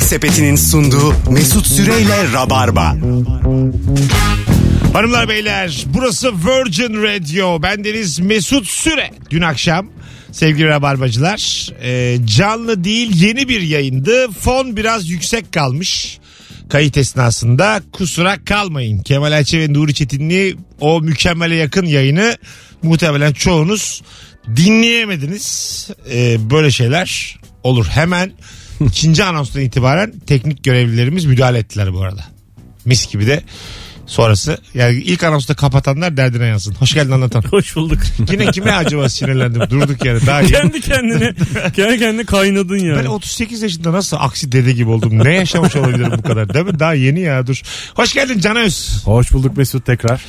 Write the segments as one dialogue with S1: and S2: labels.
S1: Sepeti'nin sunduğu Mesut Süreyle Rabarba.
S2: Hanımlar beyler burası Virgin Radio. Ben Deniz Mesut Süre. Dün akşam sevgili rabarbacılar e, canlı değil yeni bir yayındı. Fon biraz yüksek kalmış kayıt esnasında. Kusura kalmayın. Kemal Ayçe ve Nuri Çetinli o mükemmele yakın yayını muhtemelen çoğunuz dinleyemediniz. E, böyle şeyler olur. Hemen ikinci anonstan itibaren teknik görevlilerimiz müdahale ettiler bu arada. Mis gibi de sonrası. Yani ilk anonsta kapatanlar derdine yansın. Hoş geldin anlatan.
S3: Hoş bulduk.
S2: Yine kime acaba sinirlendim? Durduk yere. Daha iyi.
S3: kendi kendine, kendi kendine kaynadın ya.
S2: Ben 38 yaşında nasıl aksi dede gibi oldum? Ne yaşamış olabilirim bu kadar? Değil mi? Daha yeni ya dur. Hoş geldin Can Öz.
S4: Hoş bulduk Mesut tekrar.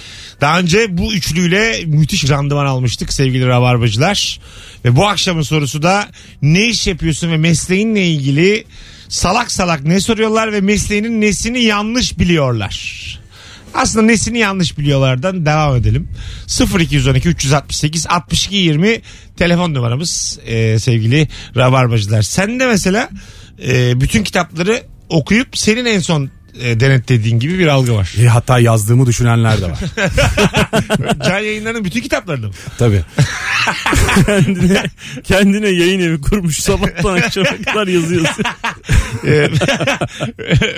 S2: Daha önce bu üçlüyle müthiş randıman almıştık sevgili rabarbacılar. Ve bu akşamın sorusu da ne iş yapıyorsun ve mesleğinle ilgili salak salak ne soruyorlar ve mesleğinin nesini yanlış biliyorlar. Aslında nesini yanlış biliyorlardan devam edelim. 0212 368 62 20 telefon numaramız ee, sevgili rabarbacılar. Sen de mesela e, bütün kitapları okuyup senin en son e, denetlediğin gibi bir algı var.
S4: E, hatta yazdığımı düşünenler de var.
S2: Can yayınlarının bütün kitaplarını mı?
S4: Tabii.
S3: kendine, kendine yayın evi kurmuş. Sabahtan akşama kadar yazıyorsun.
S2: Ee,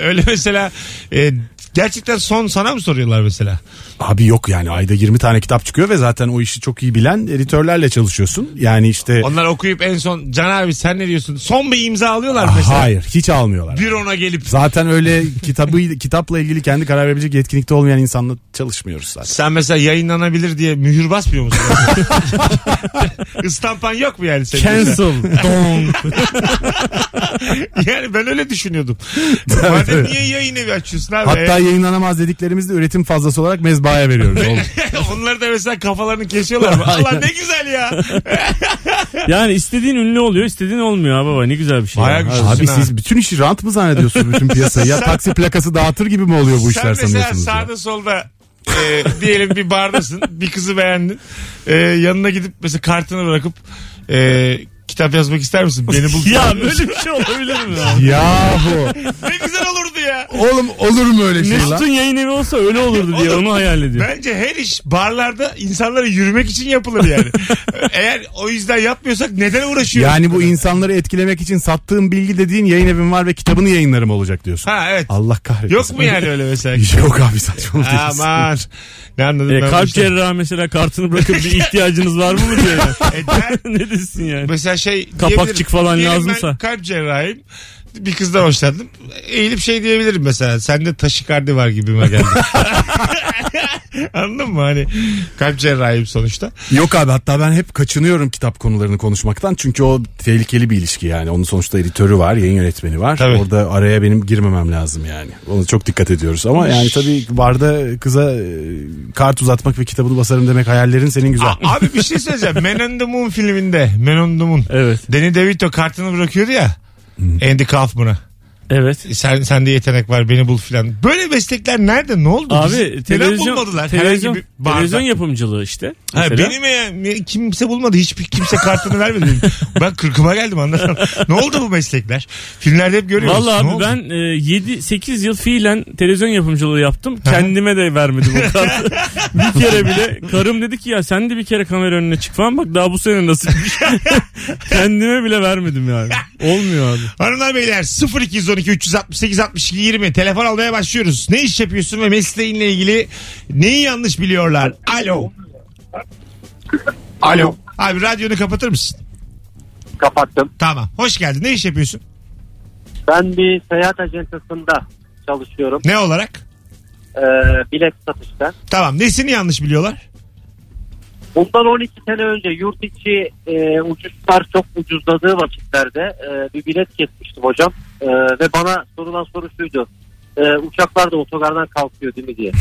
S2: Öyle mesela e, gerçekten son sana mı soruyorlar mesela?
S4: Abi yok yani ayda 20 tane kitap çıkıyor ve zaten o işi çok iyi bilen editörlerle çalışıyorsun. Yani işte
S2: Onlar okuyup en son Can abi sen ne diyorsun? Son bir imza alıyorlar mesela.
S4: hayır hiç almıyorlar.
S2: Bir ona gelip
S4: Zaten öyle kitabı kitapla ilgili kendi karar verebilecek yetkinlikte olmayan insanla çalışmıyoruz zaten.
S2: sen mesela yayınlanabilir diye mühür basmıyor musun? İstampan yok mu yani senin? mesela?
S3: Cancel. Don.
S2: Yani ben öyle düşünüyordum.
S4: Tabii,
S2: Madem
S4: tabii.
S2: niye yayın evi açıyorsun abi?
S4: Hatta yayınlanamaz dediklerimizde üretim fazlası olarak mezbahaya veriyoruz. Oldu.
S2: Onları da mesela kafalarını kesiyorlar mı? Allah ne güzel ya.
S3: Yani istediğin ünlü oluyor, istediğin olmuyor ha baba. Ne güzel bir şey.
S2: Bayağı
S3: ya.
S2: güzel.
S4: Abi
S2: Ha.
S4: siz bütün işi rant mı zannediyorsunuz bütün piyasayı? Ya taksi plakası dağıtır gibi mi oluyor bu
S2: Sen
S4: işler
S2: mesela
S4: sanıyorsunuz? ya?
S2: sağda solda e, diyelim bir bardasın. bir kızı beğendin. E, yanına gidip mesela kartını bırakıp e, kitap yazmak ister misin? Beni bul.
S3: ya böyle bir şey olabilir mi? ya?
S4: Yahu.
S2: ne güzel olurdu ya.
S4: Oğlum olur mu öyle şey lan?
S3: Mesut'un yayın evi olsa öyle olurdu diye onu hayal ediyor.
S2: Bence her iş barlarda insanlara yürümek için yapılır yani. Eğer o yüzden yapmıyorsak neden uğraşıyoruz?
S4: Yani bu insanları etkilemek için sattığım bilgi dediğin yayın evim var ve kitabını yayınlarım olacak diyorsun.
S2: Ha evet.
S4: Allah kahretsin.
S2: Yok mu yani öyle mesela?
S4: Yok abi saçma
S2: Aman. Ne anladım
S3: E,
S2: ben şey- bu
S3: kalp
S2: işten?
S3: cerrahı mesela kartını bırakıp bir ihtiyacınız var mı mı diyor. ya.
S2: E, ben-
S3: ne desin yani?
S2: Mesela şey
S3: Kapakçık
S2: diyebilirim.
S3: falan
S2: Diyelim Ben
S3: lazımsa.
S2: kalp cerrahiyim. Bir kızdan hoşlandım. Eğilip şey diyebilirim mesela. Sende taşikardi var gibime geldi. Anladın mı? Hani kalp cerrahiyim sonuçta.
S4: Yok abi hatta ben hep kaçınıyorum kitap konularını konuşmaktan. Çünkü o tehlikeli bir ilişki yani. Onun sonuçta editörü var, yayın yönetmeni var.
S2: Tabii.
S4: Orada araya benim girmemem lazım yani. Ona çok dikkat ediyoruz. Ama yani tabii barda kıza e, kart uzatmak ve kitabını basarım demek hayallerin senin güzel.
S2: A- abi bir şey söyleyeceğim. Men on the Moon filminde. Men on the Moon.
S3: Evet.
S2: Danny DeVito kartını bırakıyordu ya.
S3: Hmm.
S2: Andy Kaufman'a. E,
S3: Evet.
S2: Sen, sende yetenek var beni bul filan. Böyle meslekler nerede ne oldu? Biz
S3: Abi
S2: neden bulmadılar?
S3: televizyon, televizyon,
S2: Herhangi bir barda.
S3: televizyon yapımcılığı işte.
S2: Ha,
S3: Mesela.
S2: benim e- kimse bulmadı. Hiçbir kimse kartını vermedi. ben kırkıma geldim anladın mı? Ne oldu bu meslekler? Filmlerde hep görüyoruz.
S3: Vallahi
S2: Ne
S3: abi
S2: oldu?
S3: ben 7-8 yıl fiilen televizyon yapımcılığı yaptım. Kendime de vermedim o kartı. bir kere bile. Karım dedi ki ya sen de bir kere kamera önüne çık falan bak daha bu sene nasipmiş. Kendime bile vermedim yani. Olmuyor abi.
S2: Hanımlar beyler 0212 368 62 20 telefon almaya başlıyoruz. Ne iş yapıyorsun ve mesleğinle ilgili neyi yanlış biliyorlar? Alo. Alo. Abi radyonu kapatır mısın?
S5: kapattım.
S2: Tamam. Hoş geldin. Ne iş yapıyorsun?
S5: Ben bir seyahat ajantasında çalışıyorum.
S2: Ne olarak?
S5: Ee, bilet satışta.
S2: Tamam. Nesini yanlış biliyorlar?
S5: Bundan 12 sene önce yurt içi e, uçuşlar çok ucuzladığı vakitlerde e, bir bilet kesmiştim hocam. E, ve bana sorulan soru şuydu. E, uçaklar da otogardan kalkıyor değil mi diye.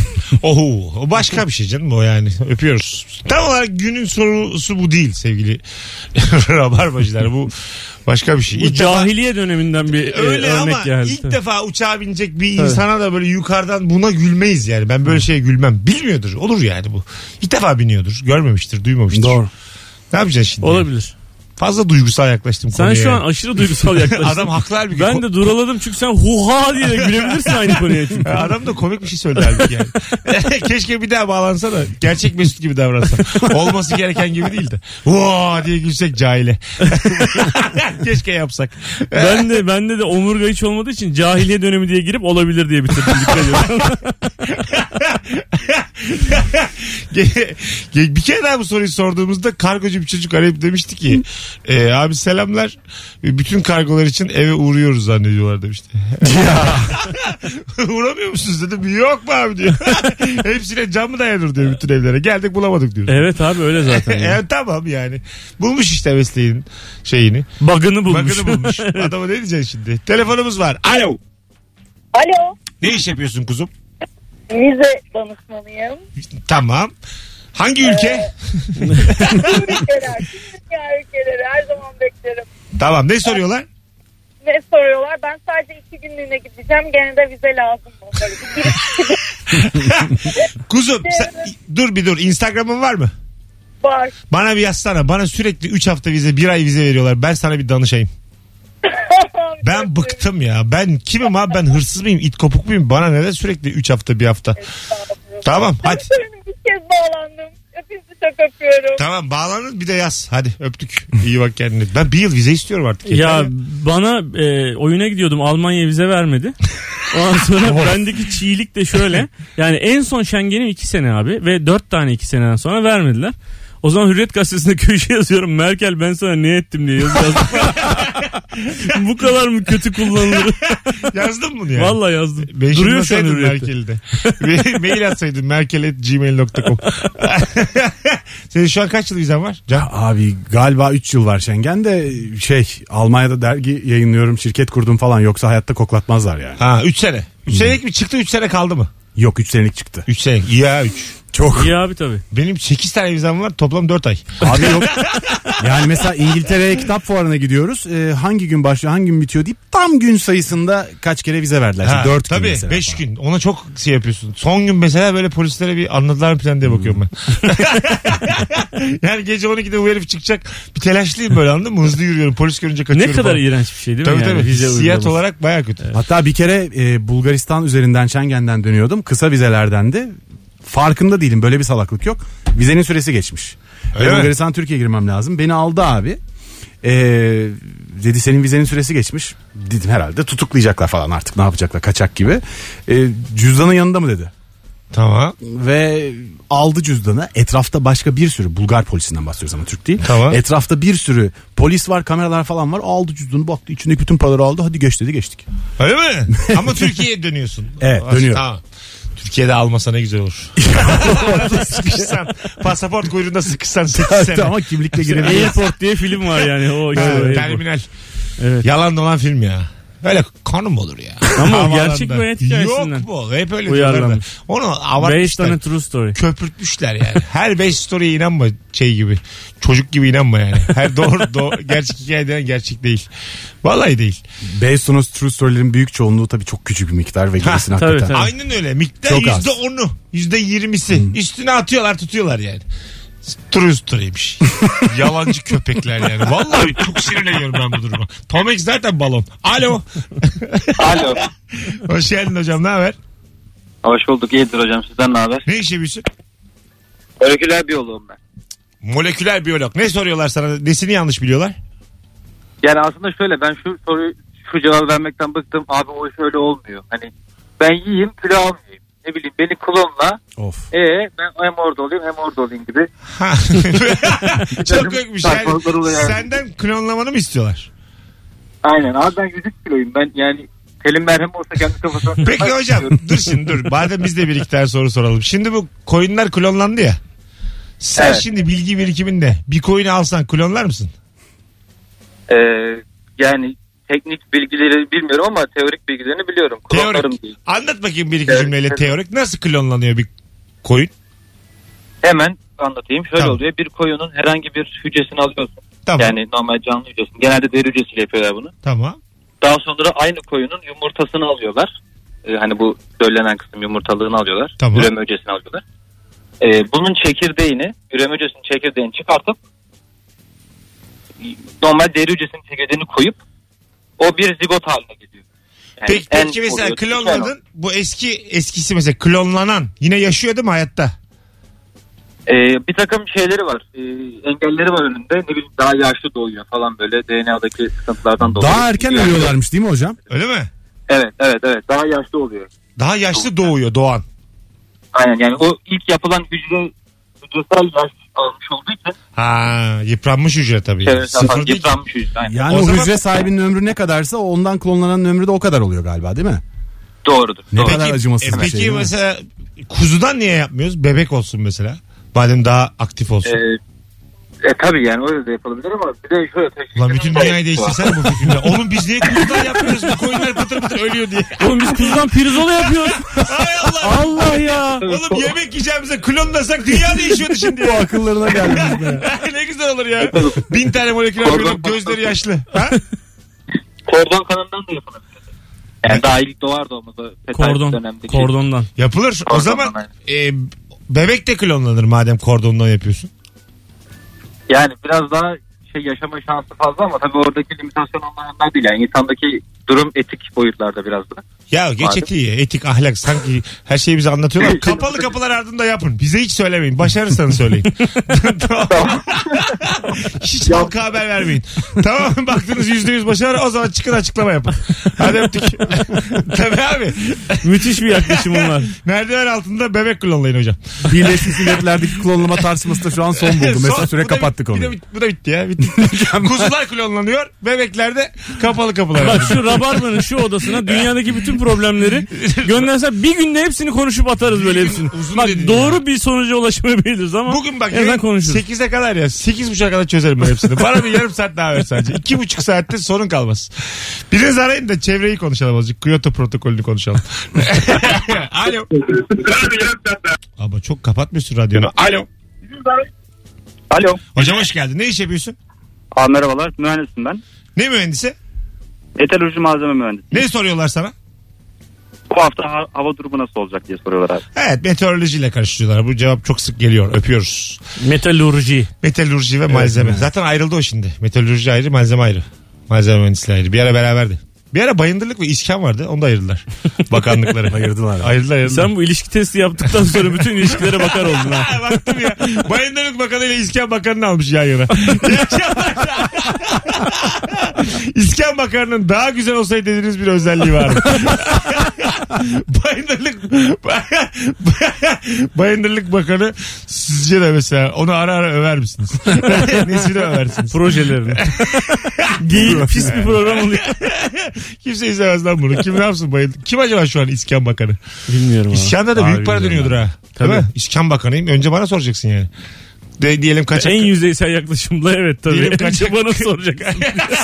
S2: Oho. O başka bir şey canım o yani. Öpüyoruz. Tam olarak günün sorusu bu değil sevgili rabarbacılar. Bu başka bir şey.
S3: Bu
S2: İlk defa-
S3: cahiliye döneminden bir e,
S2: Öyle
S3: örnek
S2: ama
S3: yani.
S2: ilk defa uçağa binecek bir insana da böyle yukarıdan buna gülmeyiz yani. Ben böyle şeye gülmem. Bilmiyordur. Olur yani bu. İlk defa biniyordur. Görmemiştir, duymamıştır.
S4: Doğru.
S2: Ne yapacaksın şimdi?
S3: Olabilir.
S2: Fazla duygusal yaklaştım
S3: Sen
S2: konuya.
S3: şu an aşırı duygusal yaklaştın.
S2: Adam haklar bir gün.
S3: Ben de duraladım çünkü sen huha diye de gülebilirsin aynı konuya çünkü.
S2: Adam da komik bir şey söyledi halbuki yani. Keşke bir daha bağlansana. Gerçek Mesut gibi davransa. Olması gereken gibi değil de. Vaa diye gülsek cahile. Keşke yapsak.
S3: Ben de bende de omurga hiç olmadığı için cahiliye dönemi diye girip olabilir diye bitirdim. Dikkat ediyorum.
S2: Ge- ge- bir kere daha bu soruyu sorduğumuzda kargocu bir çocuk arayıp demişti ki e, abi selamlar bütün kargolar için eve uğruyoruz zannediyorlar demişti. Uğramıyor musunuz dedim yok mu abi diyor. Hepsine cam mı dayanır diyor bütün evlere geldik bulamadık diyor.
S3: evet abi öyle zaten. ya.
S2: E, tamam yani. Bulmuş işte mesleğin şeyini.
S3: Bug'ını bulmuş.
S2: Bakını bulmuş. Adama ne diyeceksin şimdi? Telefonumuz var. Alo.
S6: Alo,
S2: Ne iş yapıyorsun kuzum?
S6: vize danışmanıyım.
S2: Tamam. Hangi ülke?
S6: Tüm ülkeler, tüm dünya ülkeleri her zaman beklerim.
S2: Tamam ne soruyorlar?
S6: Ne soruyorlar? Ben sadece iki günlüğüne gideceğim. Gene de vize lazım. onlara. Bir-
S2: Kuzum sen- dur bir dur. Instagram'ın var mı?
S6: Var.
S2: Bana bir yazsana. Bana sürekli 3 hafta vize, 1 ay vize veriyorlar. Ben sana bir danışayım. Ben bıktım ya. Ben kimim abi? Ben hırsız mıyım? İt kopuk muyum? Bana neden sürekli 3 hafta, bir hafta? Tamam hadi.
S6: Bir kez bağlandım. Hepinizi çok öpüyorum.
S2: Tamam bağlanın bir de yaz. Hadi öptük. İyi bak kendine. Ben bir yıl vize istiyorum artık. Yeter
S3: Ya bana e, oyuna gidiyordum Almanya vize vermedi. Ondan sonra bendeki çiğlik de şöyle. Yani en son Schengen'im 2 sene abi ve 4 tane 2 seneden sonra vermediler. O zaman Hürriyet Gazetesi'nde köşe yazıyorum. Merkel ben sana ne ettim diye yazı yazdım. Bu kadar mı kötü kullanılır?
S2: Yazdın bunu yani.
S3: Vallahi yazdım.
S2: Ben
S3: Duruyor şu an
S2: şunlasaydın
S3: Hürriyet'te.
S2: Merkel'de. Ve- Mail atsaydın merkel.gmail.com Senin şu an kaç yıl vizen var? Can?
S4: Abi galiba 3 yıl var Schengen de şey Almanya'da dergi yayınlıyorum şirket kurdum falan yoksa hayatta koklatmazlar yani.
S2: Ha 3 sene. 3 senelik mi çıktı 3 sene kaldı mı?
S4: Yok 3 senelik çıktı.
S2: 3 sene. Ya 3.
S4: Çok.
S3: İyi abi tabii.
S2: Benim 8 tane vizem var toplam 4 ay.
S4: Abi yok. Yani mesela İngiltere'ye kitap fuarına gidiyoruz. Ee, hangi gün başlıyor hangi gün bitiyor deyip tam gün sayısında kaç kere vize verdiler.
S2: Ha,
S4: Şimdi 4 gün
S2: tabii
S4: mesela.
S2: 5 gün. Ona çok şey yapıyorsun. Son gün mesela böyle polislere bir anladılar mı falan diye bakıyorum ben. yani gece 12'de bu herif çıkacak. Bir telaşlıyım böyle anladın mı? Hızlı yürüyorum. Polis görünce
S3: Ne
S2: kaçıyorum.
S3: kadar
S2: falan.
S3: iğrenç bir şey değil mi?
S2: Tabii
S3: yani
S2: tabii.
S3: vize
S2: Hissiyat
S3: uygulaması?
S2: olarak baya kötü.
S4: Hatta bir kere e, Bulgaristan üzerinden Schengen'den dönüyordum. Kısa vizelerdendi. Farkında değilim böyle bir salaklık yok. Vizenin süresi geçmiş.
S2: Öyle
S4: Ve
S2: mi?
S4: Bulgaristan Türkiye girmem lazım. Beni aldı abi. E, dedi senin vizenin süresi geçmiş. Dedim herhalde tutuklayacaklar falan artık ne yapacaklar kaçak gibi. E, cüzdanın yanında mı dedi.
S2: Tamam.
S4: Ve aldı cüzdanı etrafta başka bir sürü Bulgar polisinden bahsediyoruz ama Türk değil.
S2: Tamam.
S4: Etrafta bir sürü polis var kameralar falan var aldı cüzdanı baktı içindeki bütün paraları aldı hadi geç dedi geçtik.
S2: Öyle mi? Ama Türkiye'ye dönüyorsun.
S4: Evet,
S2: Aslında-
S4: dönüyorum.
S2: Tamam. Türkiye'de almasa ne güzel olur. Orada sıkışsan. Pasaport kuyruğunda sıkışsan 8 sene.
S4: Ama kimlikle giremiyor.
S3: Airport diye film var yani. O şey, işte
S2: Ha,
S3: airport.
S2: Ee, terminal.
S3: Evet.
S2: Yalan dolan film ya. Öyle konum olur ya.
S3: Ama o
S2: Havaalanında.
S3: gerçek bir hayat hikayesinden.
S2: Yok bu. Hep öyle diyorlar da.
S3: Uyarlanmış.
S2: Onu
S3: Based on
S2: abartmışlar.
S3: a true story.
S2: Köpürtmüşler yani. Her 5 story'e inanma şey gibi. Çocuk gibi inanma yani. Her doğru, doğru gerçek hikaye denen gerçek değil. Vallahi değil.
S4: Based on True Story'lerin büyük çoğunluğu tabii çok küçük bir miktar ve gerisini
S3: tabii,
S4: hakikaten.
S3: tabii. Evet. Hmm.
S2: Aynen öyle. Miktar
S4: Çok az.
S2: yüzde onu, yüzde yirmisi. Üstüne atıyorlar tutuyorlar yani. True story'miş. Yalancı köpekler yani. Vallahi çok sinirleniyorum ben bu duruma. Tom Hanks zaten balon. Alo.
S7: Alo.
S2: Hoş geldin hocam ne haber?
S7: Hoş bulduk. İyidir hocam. Sizden ne haber?
S2: Ne iş yapıyorsun?
S7: Moleküler biyoloğum ben.
S2: Moleküler biyolog. Ne soruyorlar sana? Nesini yanlış biliyorlar?
S7: Yani aslında şöyle ben şu soruyu şu cevabı vermekten bıktım. Abi o iş öyle olmuyor. Hani ben yiyeyim kilo almayayım. Ne bileyim beni klonla
S4: Of.
S7: e ben hem orada olayım hem orada olayım gibi.
S2: Ha. Çok yokmuş yani.
S7: Saçmalıklar oluyor yani.
S2: Senden klonlamanı mı istiyorlar?
S7: Aynen abi ben 100 kiloyum. Ben yani Selim merhem olsa kendi kafasına...
S2: Peki hocam dur şimdi dur. Madem biz de bir iki tane soru soralım. Şimdi bu koyunlar klonlandı ya. Sen
S7: Evet.
S2: şimdi bilgi birikiminde bir koyunu alsan klonlar mısın?
S7: Ee, yani teknik bilgileri bilmiyorum ama teorik bilgilerini biliyorum. Klonlarım
S2: Teorik.
S7: değil.
S2: Anlat bakayım bir iki
S7: Teorik.
S2: cümleyle teorik. Nasıl klonlanıyor bir koyun?
S7: Hemen anlatayım. Şöyle
S2: Tamam.
S7: oluyor. Bir koyunun herhangi bir hücresini alıyorsun.
S2: Tamam.
S7: Yani normal canlı hücresini. Genelde deri hücresiyle yapıyorlar bunu.
S2: Tamam.
S7: Daha sonra aynı koyunun yumurtasını alıyorlar. Ee, hani bu döllenen kısım yumurtalığını alıyorlar.
S2: Tamam.
S7: Üreme hücresini alıyorlar. Ee, bunun çekirdeğini, üreme hücresinin çekirdeğini çıkartıp normal deri hücresinin çekirdeğini koyup o bir zigot haline geliyor. Yani
S2: Peki,
S7: en
S2: peki mesela
S7: oluyor.
S2: klonladın. Bu eski eskisi mesela klonlanan yine yaşıyor değil mi hayatta?
S7: Ee, bir takım şeyleri var. Ee, engelleri var önünde. Ne bileyim daha yaşlı doğuyor falan böyle DNA'daki sıkıntılardan dolayı.
S4: Daha erken ölüyorlarmış değil mi hocam?
S2: Öyle mi?
S7: Evet evet evet daha yaşlı oluyor.
S2: Daha yaşlı doğuyor doğan.
S7: Aynen yani o ilk yapılan hücre hücresel yaş almış olduğu için
S2: Ha yıpranmış hücre tabii.
S7: evet,
S2: Sıfır değil.
S7: yıpranmış hücre. Aynen.
S4: Yani
S2: O
S4: o,
S2: zaman-
S4: hücre sahibinin ömrü ne kadarsa ondan klonlananın ömrü de o kadar oluyor galiba değil mi?
S7: Doğrudur.
S4: Ne
S7: doğru.
S4: kadar acımasız
S2: e,
S4: bir
S2: peki
S4: şey. değil mi?
S2: mesela kuzudan niye yapmıyoruz? Bebek olsun mesela. Madem daha aktif olsun.
S7: Ee, e tabii yani öyle de yapılabilir ama bir de şöyle teşvik şey
S2: Ulan bütün dünyayı değiştirsen bu fikrimle. Oğlum biz niye kuzudan yapmıyoruz? Bu koyunlar pıtır pıtır ölüyor diye.
S3: Oğlum biz kuzudan pirzola yapıyoruz.
S2: Hay Allah.
S3: Allah ya.
S2: Oğlum yemek yiyeceğimize klonlasak dünya değişiyordu şimdi
S4: Bu
S2: ya.
S4: akıllarına geldi.
S2: ne güzel olur ya. Bin tane moleküler
S7: Korkak
S2: biyolog
S7: bastı.
S2: gözleri yaşlı. Ha?
S7: Kordon kanından da yapılabilir. Yani daha ilk doğar doğmadı. fetal
S3: Kordon.
S7: dönemdeki-
S3: Kordondan.
S2: Yapılır. O
S7: Kordondan
S2: zaman e, bebek de klonlanır madem kordondan yapıyorsun.
S7: Yani biraz daha şey yaşama şansı fazla ama tabii oradaki limitasyon anlamında değil. Yani insandaki durum etik boyutlarda biraz da.
S2: Ya geç
S7: Madem.
S2: etiği, etik, ahlak sanki her şeyi bize anlatıyorlar. Kapalı kapılar ardında yapın. Bize hiç söylemeyin. Başarırsanız söyleyin. tamam. hiç halka haber vermeyin. Tamam baktınız yüzde yüz başarı o zaman çıkın açıklama yapın. Hadi öptük. Tabii abi.
S3: Müthiş bir yaklaşımım var.
S2: Merdiven altında bebek klonlayın hocam.
S4: Birleşmiş Milletler'deki klonlama tartışması da şu an son buldu.
S2: Son-
S4: Mesela
S2: bu
S4: süre
S2: da
S4: kapattık
S2: bit-
S4: onu.
S2: Bu da, bit- bu da bitti ya. Bitti. Kuzular klonlanıyor. Bebekler de kapalı kapılar.
S3: Bak
S2: ardında.
S3: şu rabarbanın şu odasına dünyadaki bütün problemleri göndersen bir günde hepsini konuşup atarız böyle
S2: gün
S3: hepsini.
S2: uzun
S3: Bak
S2: dedin
S3: doğru bir sonuca ulaşamayabiliriz ama
S2: Bugün bak
S3: en azından
S2: yayın
S3: konuşuruz.
S2: 8'e kadar ya. 8.30'a kadar çözerim ben hepsini. Bana bir yarım saat daha ver sadece. 2.5 saatte sorun kalmaz. Biraz arayın da çevreyi konuşalım azıcık. Kyoto protokolünü konuşalım. Alo. Ama çok kapatmıyorsun radyonu. Alo.
S8: Alo.
S2: Hocam hoş geldin. Ne iş yapıyorsun?
S8: Aa, merhabalar. Mühendisim ben.
S2: Ne mühendisi?
S8: Metalurji malzeme mühendisi.
S2: Ne soruyorlar sana?
S8: Bu hafta ha- hava durumu nasıl olacak diye soruyorlar abi.
S2: Evet meteorolojiyle karıştırıyorlar. Bu cevap çok sık geliyor. Öpüyoruz.
S3: Metalurji.
S2: Metalurji ve malzeme. Zaten ayrıldı o şimdi. Metalurji ayrı, malzeme ayrı. Malzeme mühendisliği ayrı. Bir ara beraberdi. Bir ara bayındırlık ve iskan vardı. Onu da ayırdılar. Bakanlıkları.
S4: Ayırdılar.
S2: Ayırdılar ayırdılar.
S3: Sen bu ilişki testi yaptıktan sonra bütün ilişkilere bakar oldun ha.
S2: Ha, Baktım ya. Bayındırlık Bakanı ile İskan Bakanı'nı almış yan yana. İskan Bakanı'nın daha güzel olsaydı dediğiniz bir özelliği var mı? Bayındırlık Bayındırlık Bakanı sizce de mesela onu ara ara över misiniz? Nesini översiniz?
S3: Projelerini. Değil pis bir program oluyor.
S2: Kimse izlemez lan bunu. Kim ne yapsın bayıldı? Kim acaba şu an İskan Bakanı?
S3: Bilmiyorum abi.
S2: İskan'da da
S4: Abi
S2: büyük para
S4: bilmiyorum
S2: dönüyordur ha. Değil
S3: Tabii.
S2: mi? İskan Bakanıyım. Önce bana soracaksın yani. De, diyelim kaçak.
S3: En yüzeysel yaklaşımla evet tabii.
S2: Diyelim
S3: Önce
S2: kaçak-
S3: bana soracak.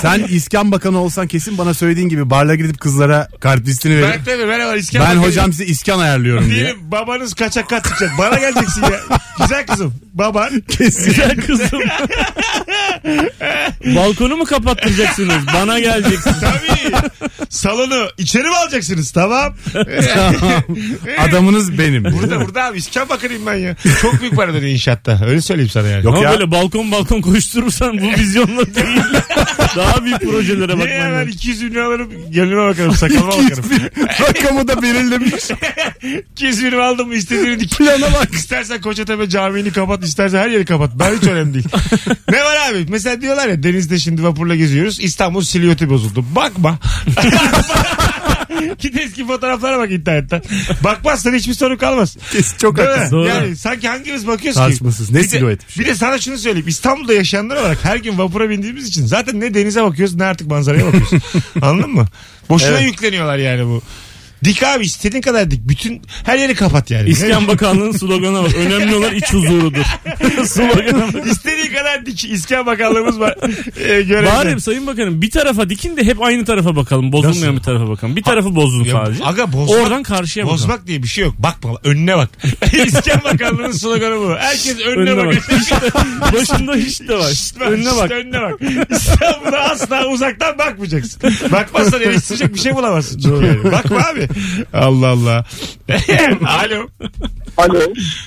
S4: Sen İskan Bakanı olsan kesin bana söylediğin gibi barla gidip kızlara kalp listini
S2: Ben
S4: verip
S2: tabii merhaba İskan
S4: ben
S2: Bakanıyım.
S4: hocam size iskan ayarlıyorum diye.
S2: Diyelim babanız kaçak kat çıkacak. Bana geleceksin ya. Güzel kızım. Baban.
S3: Güzel kızım. Balkonu mu kapattıracaksınız? Bana geleceksin.
S2: Tabii. Salonu içeri mi alacaksınız? Tamam. Ee,
S4: Tamam. Adamınız benim.
S2: Burada burada abi iskan bakanıyım ben ya. Çok büyük para dönüyor inşaatta. Öyle söyleyeyim sana yani.
S4: Yok
S3: Ama
S4: ya.
S3: böyle balkon balkon koşturursan bu vizyonla değil. Daha büyük
S2: Niye
S3: projelere bakman
S2: ben
S3: lazım.
S2: 200 bin lira alırım gelinime bakarım sakalıma bakarım.
S4: Rakamı da belirlemiş.
S2: 200 bin lira aldım mı istediğini dik.
S4: Plana bak.
S2: İstersen Koçatepe Camii'ni kapat, istersen her yeri kapat. Ben hiç önemli değil. ne var abi? Mesela diyorlar ya denizde şimdi vapurla geziyoruz. İstanbul silüeti bozuldu. Bakma. Git eski fotoğraflara bak internetten. Bakmazsan hiçbir sorun kalmaz.
S4: Kesin çok
S2: Değil mi?
S4: haklısın.
S3: Doğru.
S2: Yani sanki hangimiz bakıyoruz ki?
S4: Tartışmasız. Ne
S2: Bir de-
S4: silüetmiş
S2: Bir de sana şunu söyleyeyim. İstanbul'da yaşayanlar olarak her gün vapura bindiğimiz için zaten ne denize bakıyoruz ne artık manzaraya bakıyoruz. Anladın mı? Boşuna yükleniyorlar yani bu. Dik abi istediğin kadar dik. Bütün her yeri kapat yani.
S3: İskan Bakanlığı'nın sloganı var. Önemli olan iç huzurudur. sloganı var.
S2: İstediği kadar dik. İskan Bakanlığımız var. Ee, görevde.
S3: Bari Sayın Bakanım bir tarafa dikin de hep aynı tarafa bakalım. Bozulmayan
S2: Nasıl?
S3: bir tarafa bakalım. Bir tarafı bozdun
S2: Ya,
S3: sadece.
S2: aga bozmak,
S3: Oradan karşıya bakalım.
S2: bozmak diye bir şey yok. Bakma önüne bak. İskan Bakanlığı'nın sloganı bu. Herkes önüne,
S3: Önüne
S2: bakacak.
S3: bak. İşte başında hiç de var.
S2: Şşt bak,
S3: Önüne
S2: şşt
S3: bak.
S2: Önüne bak. İstanbul'a asla uzaktan bakmayacaksın. Bakmazsan eleştirecek bir şey bulamazsın. Çünkü yani. Bakma abi. Allah Allah. Alo.
S5: Alo.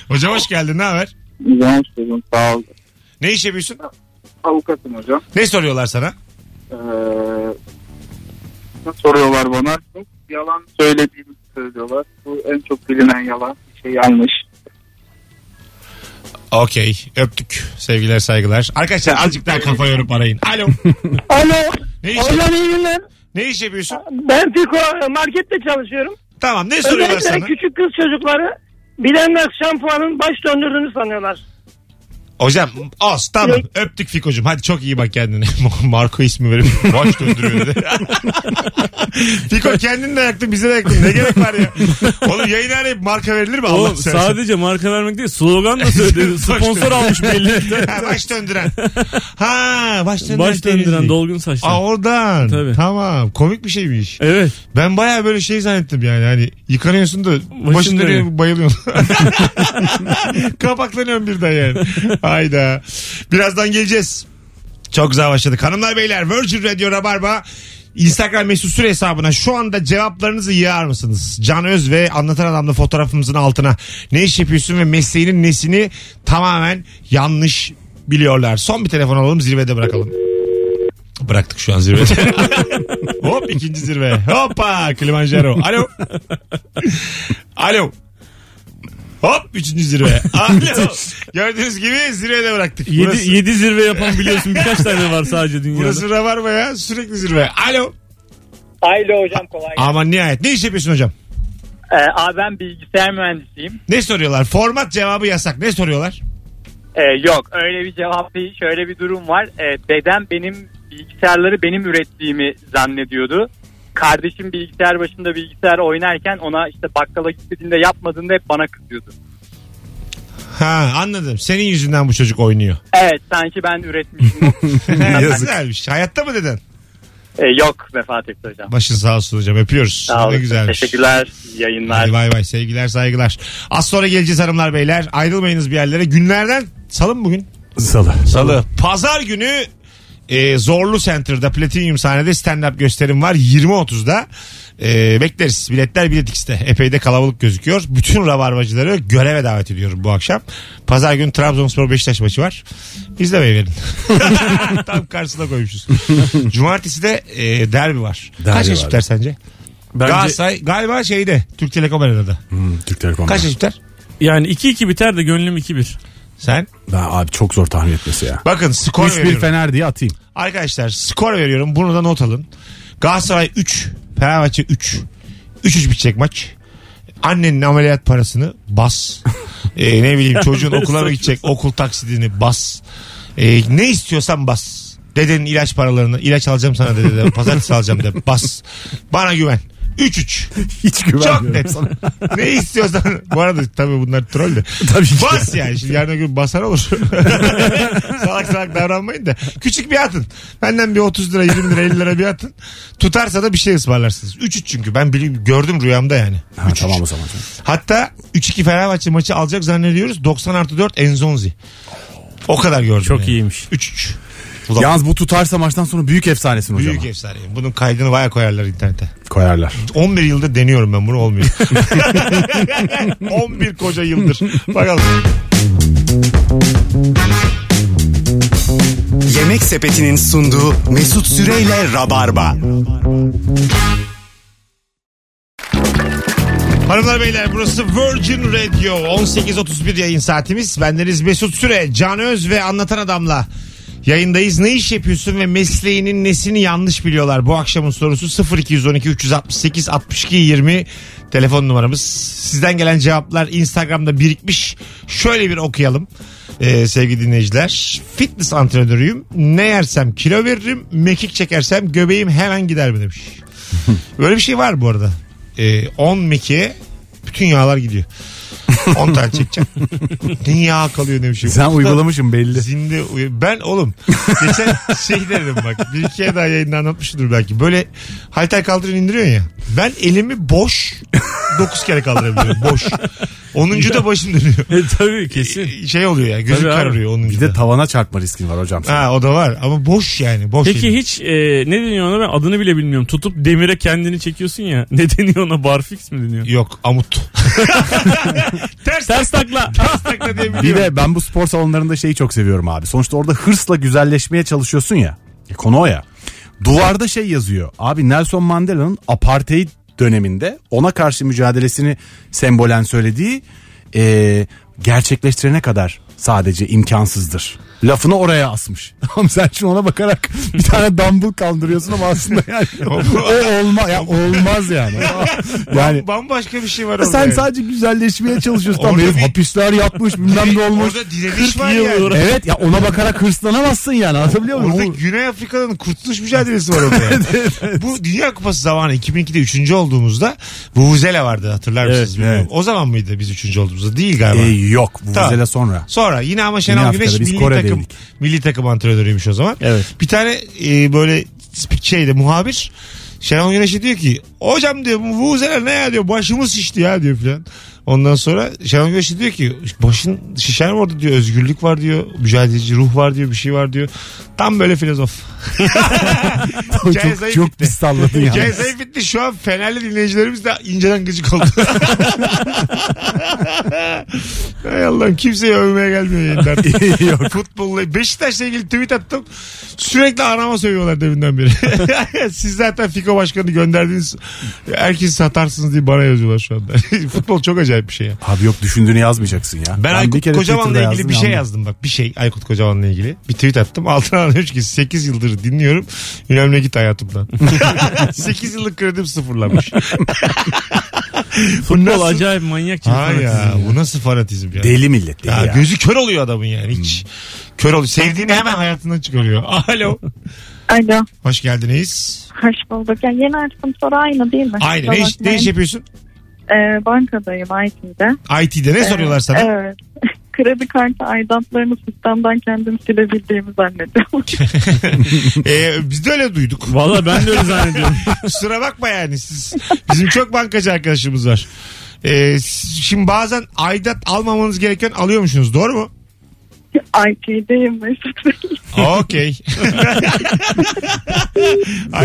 S2: Hocam hoş geldin. Ne haber?
S5: İyi günler. Sağ ol.
S2: Ne iş yapıyorsun?
S5: Avukatım hocam.
S2: Ne soruyorlar sana?
S5: Ee, ne soruyorlar bana? Çok yalan söylediğimi söylüyorlar. Bu en çok bilinen yalan. Bir şey yanlış.
S2: Okey. Öptük. Sevgiler saygılar. Arkadaşlar azıcık daha kafa yorup arayın. Alo.
S9: Alo.
S2: Ne iş,
S9: Hocam iyi günler.
S2: ne iş yapıyorsun?
S9: Ben Fiko e, markette çalışıyorum.
S2: Tamam ne soruyorlar
S9: Özellikle
S2: sana?
S9: küçük kız çocukları bilenler şampuanın baş döndürdüğünü sanıyorlar.
S2: Hocam az tamam öptük Fiko'cum hadi çok iyi bak kendine. Marco ismi verip baş döndürüyor dedi. Fiko kendini de yaktın bize de yaktın ne gerek var ya. Oğlum yayın arayıp marka verilir mi Allah
S3: Oğlum
S2: seversen?
S3: sadece marka vermek değil slogan da söyledi. Sponsor almış belli.
S2: Ha, baş döndüren. Ha baş döndüren.
S3: Baş döndüren
S2: temizlik.
S3: dolgun
S2: Aa
S3: saçlar.
S2: oradan.
S3: Tabii.
S2: Tamam komik bir şeymiş.
S3: Evet.
S2: Ben baya böyle şey zannettim yani hani yıkanıyorsun da başın
S3: Başın dönüyor.
S2: dönüyor bayılıyorsun. Kapaklanıyorsun birden yani. Hayda. Birazdan geleceğiz. Çok güzel başladık. Hanımlar beyler Virgin Radio Rabarba Instagram mesut süre hesabına şu anda cevaplarınızı yığar mısınız? Can Öz ve Anlatan Adam'la fotoğrafımızın altına ne iş yapıyorsun ve mesleğinin nesini tamamen yanlış biliyorlar. Son bir telefon alalım zirvede bırakalım. Bıraktık şu an zirvede. Hop ikinci zirve. Hoppa Kilimanjaro. Alo. Alo. Hop üçüncü zirve. Alo. Gördüğünüz gibi zirvede bıraktık.
S3: 7
S2: Burası-
S3: 7 zirve yapan biliyorsun birkaç tane var sadece dünyada.
S2: Burası Rabarba ya sürekli zirve. Alo.
S5: Hayırlı hocam kolay.
S2: Aman nihayet. Ne iş yapıyorsun hocam?
S5: Ee, abi ben bilgisayar mühendisiyim.
S2: Ne soruyorlar? Format cevabı yasak. Ne soruyorlar?
S5: Ee, yok öyle bir cevap değil. Şöyle bir durum var. Ee, dedem benim bilgisayarları benim ürettiğimi zannediyordu. Kardeşim bilgisayar başında bilgisayar oynarken ona işte bakkala gittiğinde yapmadığında hep bana kızıyordu.
S2: Ha anladım. Senin yüzünden bu çocuk oynuyor.
S5: Evet sanki ben üretmişim.
S4: Yazık.
S2: Güzelmiş. Hayatta mı deden?
S9: E,
S5: Ee, yok vefat etti hocam.
S2: Başın sağ olsun hocam. Öpüyoruz.
S5: Sağ
S2: Ne
S5: olun.
S2: güzelmiş.
S5: Teşekkürler. iyi Yayınlar.
S2: Hadi bay bay. Sevgiler saygılar. Az sonra geleceğiz hanımlar beyler. Ayrılmayınız bir yerlere. Günlerden salı mı bugün?
S4: Salı.
S2: Salı. Pazar günü e, Zorlu Center'da Platinum sahnede stand-up gösterim var 20.30'da. E, bekleriz. Biletler Bilet X'te. Epey de kalabalık gözüküyor. Bütün rabarbacıları göreve davet ediyorum bu akşam. Pazar günü Trabzonspor Beşiktaş maçı var. İzlemeyi verin. Tam karşısına koymuşuz. Cumartesi de e, derbi var.
S4: Derbi
S2: Kaç
S4: var.
S2: yaş tutar sence?
S3: Bence
S2: Galatasaray galiba şeyde Türk Telekom Arena'da.
S4: Hmm, Türk Telekom'da.
S2: Kaç yaş tutar?
S3: yani 2-2 biter de gönlüm 2-1.
S2: Sen?
S4: Ben abi çok zor tahmin etmesi ya.
S2: Bakın skor
S4: 3-1
S2: veriyorum.
S4: Fener diye atayım.
S2: Arkadaşlar skor veriyorum. Bunu da not alın. Galatasaray 3. Fenerbahçe 3. 3-3 bitecek maç. Annenin ameliyat parasını bas. Ee, ne bileyim çocuğun okula mı gidecek okul taksidini bas. Ee, ne istiyorsan bas. Dedenin ilaç paralarını ilaç alacağım sana dede de pazartesi alacağım de bas. Bana güven. 3-3.
S4: Hiç
S2: Çok
S4: güvenmiyorum
S2: net.
S4: sana.
S2: ne istiyorsan. Bu arada tabii bunlar troll de.
S4: Tabii ki.
S2: Bas yani. Şimdi yarın öbür gün basar olur. salak salak davranmayın da. Küçük bir atın. Benden bir 30 lira 20 lira 50 lira bir atın. Tutarsa da bir şey ısmarlarsınız. 3-3 çünkü. Ben biliyorum, gördüm rüyamda yani.
S4: Ha, tamam o zaman.
S2: Hatta 3-2 Fenerbahçe maçı alacak zannediyoruz. 90 artı 4 Enzonzi. O kadar gördüm.
S3: Çok
S2: yani.
S3: iyiymiş.
S2: 3-3. Ulan
S4: Yalnız bu tutarsa maçtan sonra büyük efsanesin hocam.
S2: büyük efsane. Bunun kaydını baya koyarlar internete.
S4: Koyarlar.
S2: 11 yıldır deniyorum ben bunu olmuyor. 11 koca yıldır. Bakalım.
S1: Yemek Sepeti'nin sunduğu Mesut Süreyle Rabarba.
S2: Hanımlar beyler burası Virgin Radio 18.31 yayın saatimiz. Bendeniz Mesut Süre, Can Öz ve Anlatan Adam'la yayındayız. Ne iş yapıyorsun ve mesleğinin nesini yanlış biliyorlar? Bu akşamın sorusu 0212 368 62 20 telefon numaramız. Sizden gelen cevaplar Instagram'da birikmiş. Şöyle bir okuyalım ee, sevgili dinleyiciler. Fitness antrenörüyüm. Ne yersem kilo veririm, mekik çekersem göbeğim hemen gider mi demiş. Böyle bir şey var bu arada. Ee, 10 mekiğe bütün yağlar gidiyor. 10 tane çekeceğim. Bütün yağ kalıyor ne bir şey.
S4: Sen
S2: Usta
S4: uygulamışsın belli.
S2: Zinde uyu- Ben oğlum geçen şey derim bak. Bir ikiye daha yayında anlatmışımdır belki. Böyle halter kaldırın indiriyorsun ya. Ben elimi boş 9 kere kaldırabiliyorum. Boş. Onuncu da başın dönüyor.
S3: E, tabii kesin.
S2: Şey oluyor ya gözün
S3: Tabii abi.
S2: kararıyor
S4: Bir
S2: onuncu
S4: de
S2: da.
S4: tavana çarpma riskin var hocam.
S2: Ha o da var ama boş yani. Boş
S3: Peki
S2: elin.
S3: hiç e, ne deniyor ona ben adını bile bilmiyorum. Tutup demire kendini çekiyorsun ya. Ne deniyor ona barfix mi deniyor?
S2: Yok amut. Ters
S3: Ters takla.
S2: takla diye
S4: Bir
S2: biliyorum.
S4: de ben bu spor salonlarında şeyi çok seviyorum abi. Sonuçta orada hırsla güzelleşmeye çalışıyorsun ya. E, Konu o ya. Duvarda şey yazıyor. Abi Nelson Mandela'nın apartheid döneminde ona karşı mücadelesini sembolen söylediği e, gerçekleştirene kadar sadece imkansızdır. Lafını oraya asmış. Ama sen şimdi ona bakarak bir tane dumbbell kaldırıyorsun ama aslında yani o olma, ya olmaz yani. Yani
S2: Bambaşka bir şey var orada.
S4: sen
S2: yani.
S4: sadece güzelleşmeye çalışıyorsun. Tam
S2: Orada
S4: herif
S2: bir-
S4: hapisler yatmış bilmem ne olmuş.
S2: Orada direniş var yani.
S4: Evet ya ona bakarak hırslanamazsın yani anlatabiliyor muyum?
S2: Orada
S4: Bu-
S2: Güney Afrika'nın kurtuluş mücadelesi var orada. yani. Bu Dünya Kupası zamanı 2002'de 3. olduğumuzda Vuvuzela vardı hatırlar mısınız?
S4: Evet,
S2: bilmiyorum.
S4: evet.
S2: O zaman mıydı biz 3. olduğumuzda? Değil galiba.
S4: Ee, yok bu
S2: Tamam.
S4: mesele sonra.
S2: Sonra yine ama Şenol
S4: Afrika'da
S2: Güneş
S4: biz
S2: milli
S4: Kore'deydik.
S2: takım milli takım antrenörüymüş o zaman.
S4: Evet.
S2: Bir tane e, böyle sp- şeyde muhabir Şenol Güneş'e diyor ki hocam diyor bu Vuvuzela ne ya diyor başımız şişti ya diyor filan. Ondan sonra Şenol Güneş de diyor ki başın şişen orada diyor özgürlük var diyor mücadeleci ruh var diyor bir şey var diyor. Tam böyle filozof. Hikaye
S4: çok
S2: zayıf
S4: çok
S2: bitti.
S4: pis salladın yani.
S2: Hikaye zayıf bitti. Şu an Fenerli dinleyicilerimiz de inceden gıcık oldu. Hay Allah'ım kimseye övmeye gelmiyor yeniden. Yok. Futbolla. Beşiktaş'la ilgili tweet attım. Sürekli anama sövüyorlar deminden beri. Siz zaten Fiko Başkanı gönderdiğiniz herkesi satarsınız diye bana yazıyorlar şu anda. Futbol çok acayip bir şey ya.
S4: Abi yok düşündüğünü yazmayacaksın ya.
S2: Ben,
S4: bir
S2: Aykut
S4: kere
S2: Kocaman'la
S4: Twitter'da
S2: ilgili bir şey
S4: yandım.
S2: yazdım bak. Bir şey Aykut Kocaman'la ilgili. Bir tweet attım. Altına demiş ki 8 yıldır dinliyorum. Önemli git hayatımdan. 8 yıllık kredim sıfırlanmış.
S3: Futbol acayip manyak çift
S2: ha ya bu nasıl fanatizm ya.
S4: Deli millet deli
S2: ya,
S4: ya.
S2: Gözü kör oluyor adamın yani hiç. Kör oluyor. Sevdiğini hemen hayatından çıkarıyor. Alo.
S6: Alo.
S2: Hoş geldiniz.
S6: Hoş bulduk. Ya yeni açtığım soru aynı değil mi?
S2: Aynı. Ne iş, ne iş yapıyorsun?
S6: Ee, bankadayım IT'de.
S2: IT'de ne soruyorlar sana?
S6: Evet. Kredi kartı aidatlarını sistemden kendim silebildiğimi zannediyorum.
S2: Ee, biz de öyle duyduk.
S3: Valla ben de öyle zannediyorum.
S2: Kusura bakma yani siz. Bizim çok bankacı arkadaşımız var. Ee, s- şimdi bazen aidat almamanız gereken alıyormuşsunuz doğru mu?
S6: IT'deyim Mesut Bey.
S2: Okey.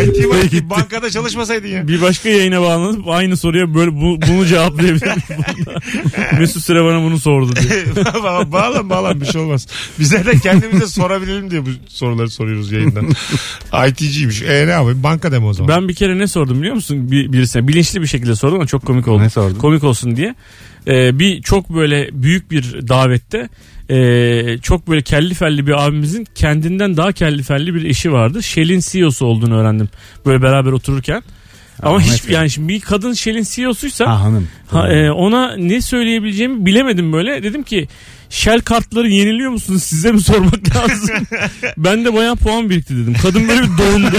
S2: IT var bankada çalışmasaydın ya.
S3: bir başka yayına bağlanıp aynı soruya böyle bu- bunu cevaplayabilirim. Mesut Süre bana bunu sordu diye.
S2: Ba- bağlan bağlan bir şey olmaz. Bize de kendimize sorabilelim diye bu soruları soruyoruz yayından. IT'ciymiş. E ne yapayım banka deme o zaman.
S3: Ben bir kere ne sordum biliyor musun? Bir, birisine bilinçli bir şekilde sordum ama çok komik oldu.
S4: Ne sordun?
S3: Komik olsun diye. Ee, bir çok böyle büyük bir davette ee, çok böyle kelli felli bir abimizin kendinden daha kelli felli bir eşi vardı. Shell'in CEO'su olduğunu öğrendim. Böyle beraber otururken. Ama hiç
S4: efendim.
S3: yani şimdi bir kadın E Shell'in CEO'suysa
S4: Ha hanım.
S3: Ha, e, ona ne söyleyebileceğimi bilemedim böyle. Dedim ki Shell kartları yeniliyor musunuz? Size mi sormak lazım? ben de bayağı puan birikti dedim. Kadın böyle bir dondu.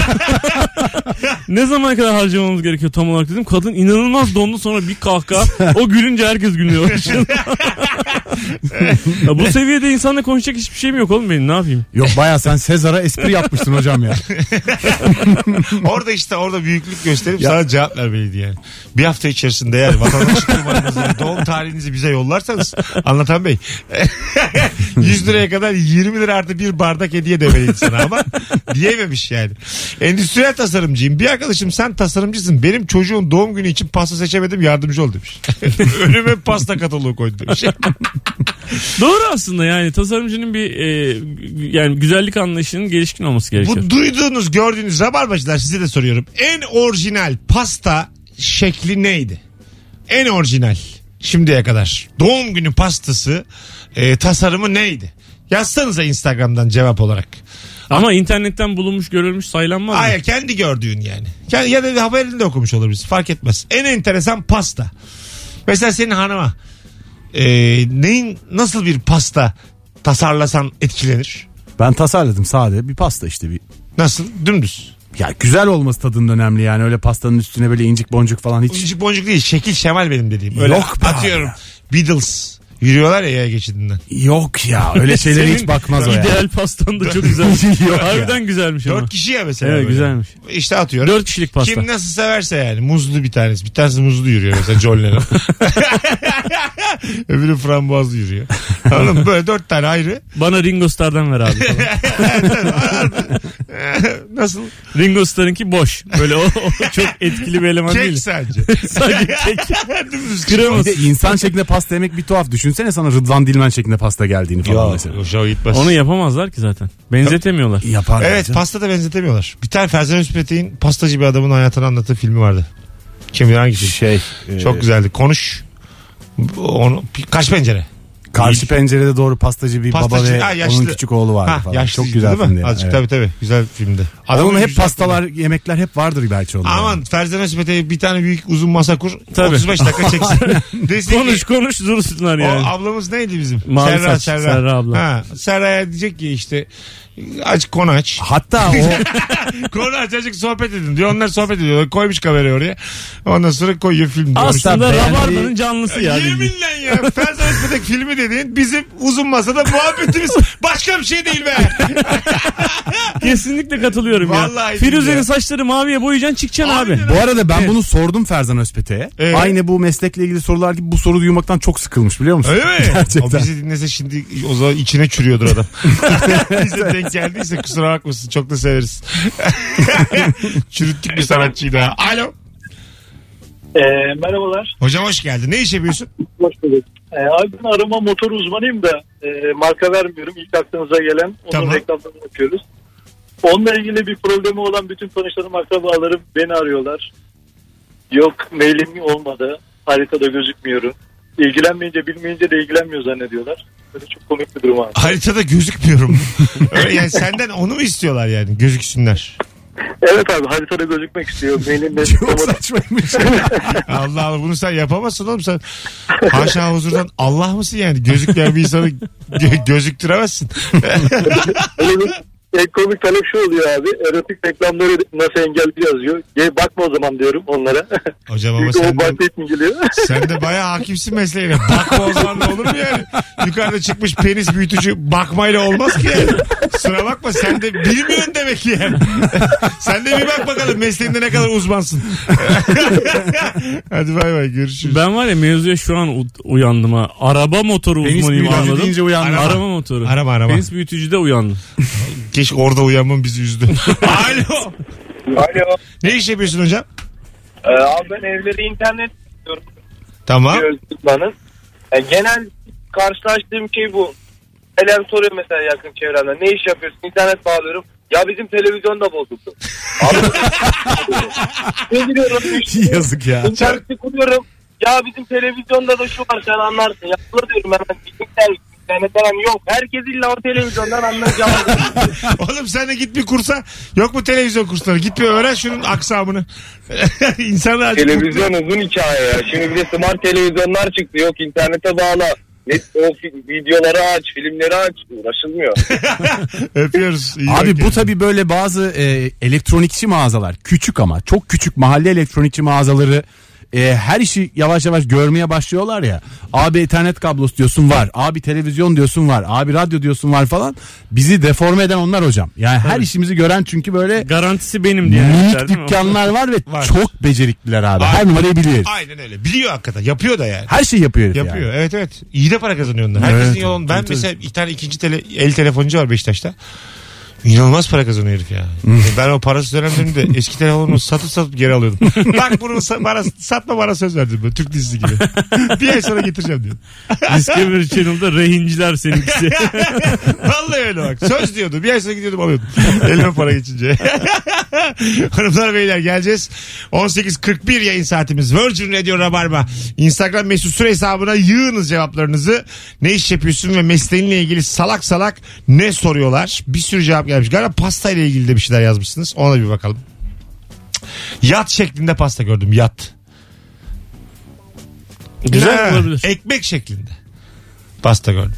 S3: ne zamana kadar harcamamız gerekiyor tam olarak dedim. Kadın inanılmaz dondu sonra bir kahkaha. O gülünce herkes gülüyor. ya bu seviyede insanla konuşacak hiçbir şeyim yok oğlum benim ne yapayım?
S4: Yok baya sen Sezar'a espri yapmışsın hocam ya.
S2: Orada işte orada büyüklük gösterip sana cevap vermeliydi yani. Bir hafta içerisinde eğer vatandaşlık numaranızı, doğum tarihinizi bize yollarsanız anlatan bey 100 liraya kadar 20 lira artı bir bardak hediye demeliydi sana ama diyememiş yani. Endüstriyel tasarımcıyım. Bir arkadaşım sen tasarımcısın. Benim çocuğun doğum günü için pasta seçemedim yardımcı ol demiş. Önüme pasta kataloğu koydu demiş.
S3: Doğru aslında yani tasarımcının bir e, gü- yani güzellik anlayışının gelişkin olması gerekiyor.
S2: Bu duyduğunuz gördüğünüz rabarbacılar size de soruyorum. En orijinal pasta şekli neydi? En orijinal şimdiye kadar. Doğum günü pastası e, tasarımı neydi? Yazsanıza Instagram'dan cevap olarak.
S3: Ama internetten bulunmuş görülmüş sayılanmaz. mı?
S2: Hayır kendi gördüğün yani. Kend- Ya da haberini de okumuş olabilirsin fark etmez. En enteresan pasta. Mesela senin hanıma e, neyin nasıl bir pasta tasarlasan etkilenir?
S4: Ben tasarladım sade bir pasta işte bir.
S2: Nasıl? Dümdüz.
S4: Ya güzel olması tadının önemli yani öyle pastanın üstüne böyle incik boncuk falan hiç.
S2: Boncuk boncuk değil şekil şemal benim dediğim. Öyle
S4: Yok be
S2: atıyorum. Beatles Yürüyorlar ya yaya geçidinden.
S4: Yok ya öyle şeylere hiç
S3: Senin
S4: bakmaz o ya.
S3: İdeal pastan da çok güzel.
S4: Yok ya.
S3: Harbiden güzelmiş ama.
S2: Dört kişi ya mesela.
S3: Evet
S2: böyle.
S3: güzelmiş.
S2: İşte atıyorum.
S3: Dört kişilik pasta.
S2: Kim nasıl severse yani. Muzlu bir tanesi. Bir tanesi muzlu yürüyor mesela John Lennon. Öbürü frambuazlı yürüyor. Anladın mı? Böyle dört tane ayrı.
S3: Bana Ringo Star'dan ver abi. falan.
S2: Nasıl?
S3: Ringo Star'ınki boş. Böyle o, o çok etkili bir eleman
S2: Kek
S3: değil.
S2: sence.
S3: Sadece kek.
S2: Dümdüz
S4: Bir de
S3: Kreması.
S4: insan şeklinde pasta yemek bir tuhaf. Düşünsene sana Rıdvan Dilmen şeklinde pasta geldiğini falan
S2: Yok.
S4: mesela.
S2: Hoşuma gitmez.
S3: Onu yapamazlar ki zaten. Benzetemiyorlar.
S4: Yapar.
S2: Evet
S4: bence.
S2: pasta da benzetemiyorlar. Bir tane Ferzan Üspet'in pastacı bir adamın hayatını anlattığı filmi vardı. Kim hangisi?
S4: şey. e,
S2: Çok güzeldi. Konuş. Onu, kaç pencere?
S4: Karşı pencerede doğru pastacı bir baba
S2: Pastacı-
S4: ve
S2: Ha,
S4: onun
S2: yaşlı.
S4: küçük oğlu vardı
S2: Ha,
S4: falan.
S2: yaşlı
S4: Çok güzel
S2: değil mi?
S4: filmdi.
S2: Azıcık
S4: Evet.
S2: tabii tabii. Güzel filmdi.
S4: Onun
S2: Adamın
S4: hep
S2: güzel
S4: pastalar, yemekler hep vardır belki onda.
S2: filmi. Aman Ferzan Özpet'e bir tane büyük uzun masa kur.
S3: Tabii.
S2: 35 dakika çeksin. Desin
S3: Konuş
S2: ki,
S3: konuş dursunlar
S2: o
S3: yani.
S2: ablamız neydi bizim?
S3: Mavi saç, Serra abla.
S2: Ha, Serra'ya diyecek ki işte aç konu aç.
S4: Hatta o
S2: konu aç azıcık sohbet edin diyor. Onlar sohbet ediyorlar. Koymuş kamerayı oraya. Ondan sonra koyuyor film diyor.
S3: Aslında
S4: beğendiği-
S3: Rabarba'nın canlısı ya. bildiğin.
S2: Yeminle ya. Ferzan Özpetek filmi dediğin bizim uzun masada muhabbetimiz başka bir şey değil be.
S3: Kesinlikle katılıyorum
S2: Vallahi
S3: ya.
S2: billahi.
S3: Firuze'nin saçları maviye boyayacaksın çıkacaksın abi.
S2: Aynen
S4: bu arada ben bunu sordum Ferzan Özpete'ye.
S2: Ee?
S4: Aynı bu meslekle ilgili sorular gibi bu soru duymaktan çok sıkılmış biliyor musun?
S2: Öyle mi? O
S4: Gerçekten.
S2: bizi dinlese şimdi o zaman içine çürüyordur adam. Bize denk geldiyse kusura bakmasın çok da severiz. Çürüttük bir sanatçıyı daha. Alo.
S9: E, merhabalar.
S2: Hocam hoş geldin. Ne iş yapıyorsun?
S9: Hoş bulduk. Ee, abi ben arama motor uzmanıyım da e, marka vermiyorum. İlk aklınıza gelen onun
S2: Tamam.
S9: reklamlarını yapıyoruz. Onunla ilgili bir problemi olan bütün tanışlarım akrabalarım beni arıyorlar. Yok mailim olmadı. Haritada gözükmüyorum. İlgilenmeyince bilmeyince de ilgilenmiyor zannediyorlar. Böyle çok komik bir durum abi.
S2: Haritada gözükmüyorum. Öyle yani senden onu mu istiyorlar yani gözüksünler?
S9: Evet abi haritada gözükmek istiyor. Mailimde
S4: Çok saçmaymış.
S2: Allah Allah bunu sen yapamazsın oğlum sen. Haşa huzurdan Allah mısın yani? Gözükmeyen bir insanı gö- gözüktüremezsin.
S9: Öyle bir en şey, komik talep şu oluyor abi. Erotik reklamları nasıl engelli yazıyor. Ye, bakma o zaman diyorum onlara.
S2: Hocam ama
S9: Çünkü o
S2: sen de,
S9: bahsetmi geliyor.
S2: sen de bayağı hakimsin mesleğine. Bakma Ozan'la olur mu yani? Yukarıda çıkmış penis büyütücü bakmayla olmaz ki yani. Sıra bakma sen de bilmiyorsun demek ki yani. sen de bir bak bakalım mesleğinde ne kadar uzmansın. Hadi bay bay görüşürüz.
S3: Ben var ya mevzuya şu an u- uyandım ha. Araba motoru
S4: Penis
S3: uzmanıyım
S4: büyütücü
S3: anladım.
S4: deyince uyandım.
S3: Araba,
S2: Arama.
S3: motoru.
S2: Arama, arama.
S3: Penis büyütücüde uyandım.
S2: Keşke orada uyanmam bizi üzdü. Alo.
S9: Alo. Ee,
S2: Ne iş yapıyorsun hocam?
S9: abi ben evleri internet diyorum.
S2: Tamam.
S9: bir özgürtmanın. Yani genel karşılaştığım şey bu. Elem soruyor mesela yakın çevremden. Ne iş yapıyorsun? İnternet bağlıyorum. Ya bizim televizyon da bozuldu. Abi, ne biliyorum? işte,
S4: Yazık ya.
S9: İnterneti kuruyorum. Ya bizim televizyonda da şu var sen anlarsın. Ya ulan diyorum hemen. İnternet, internet falan yok. Herkes illa o televizyondan anlayacağım.
S2: Oğlum sen de git bir kursa. Yok mu televizyon kursları? Git bir öğren şunun aksamını. İnsanlar azıcık mutlu-
S9: uzun hikaye ya. Şimdi bir de smart televizyonlar çıktı. Yok internete bağla. Net, o videoları aç, filmleri aç. Uğraşılmıyor.
S2: Öpüyoruz. İyi bak
S4: Abi bu
S2: kendine.
S4: tabi böyle bazı e, elektronikçi mağazalar küçük ama çok küçük mahalle elektronikçi mağazaları e, her işi yavaş yavaş görmeye başlıyorlar ya. Abi internet kablosu diyorsun var. Abi televizyon diyorsun var. Abi radyo diyorsun var falan. Bizi deforme eden onlar hocam. Yani her işimizi gören çünkü böyle
S3: Garantisi benim diye.
S4: minik
S3: yazmışlar, değil mi?
S4: dükkanlar var ve
S2: Var.
S4: çok becerikliler abi. Her numarayı biliyor.
S2: Aynen öyle. Biliyor hakikaten. Yapıyor da yani.
S4: Her şeyi yapıyor herif
S2: Yapıyor.
S4: yani.
S2: Evet evet. İyi de para kazanıyor onlar. Herkesin
S4: Evet,
S2: yolun. Ben
S4: tabii,
S2: mesela bir tane ikinci tele, el telefoncu var Beşiktaş'ta. İnanılmaz para kazanıyor herif ya.
S4: Hmm.
S2: E, ben o parası dönemlerinde eski telefonumu satıp satıp geri alıyordum. Bak bunu sa- bana, satma bana söz verdim. Böyle, Türk dizisi gibi. bir ay sonra getireceğim diyor.
S3: Discovery Channel'da rehinciler seninkisi.
S2: Vallahi öyle bak. Söz diyordu. Bir ay sonra gidiyordum alıyordum. Elime para geçince. Hanımlar beyler geleceğiz. 18.41 yayın saatimiz. Virgin Radio Rabarba. Instagram mesut süre hesabına yığınız cevaplarınızı. Ne iş yapıyorsun ve mesleğinle ilgili salak salak ne soruyorlar? Bir sürü cevap gelmiş. Galiba pasta ile ilgili de bir şeyler yazmışsınız. Ona da bir bakalım. Yat şeklinde pasta gördüm. Yat.
S3: Güzel
S2: Ha,
S3: olabilir.
S2: Ekmek şeklinde. Pasta gördüm.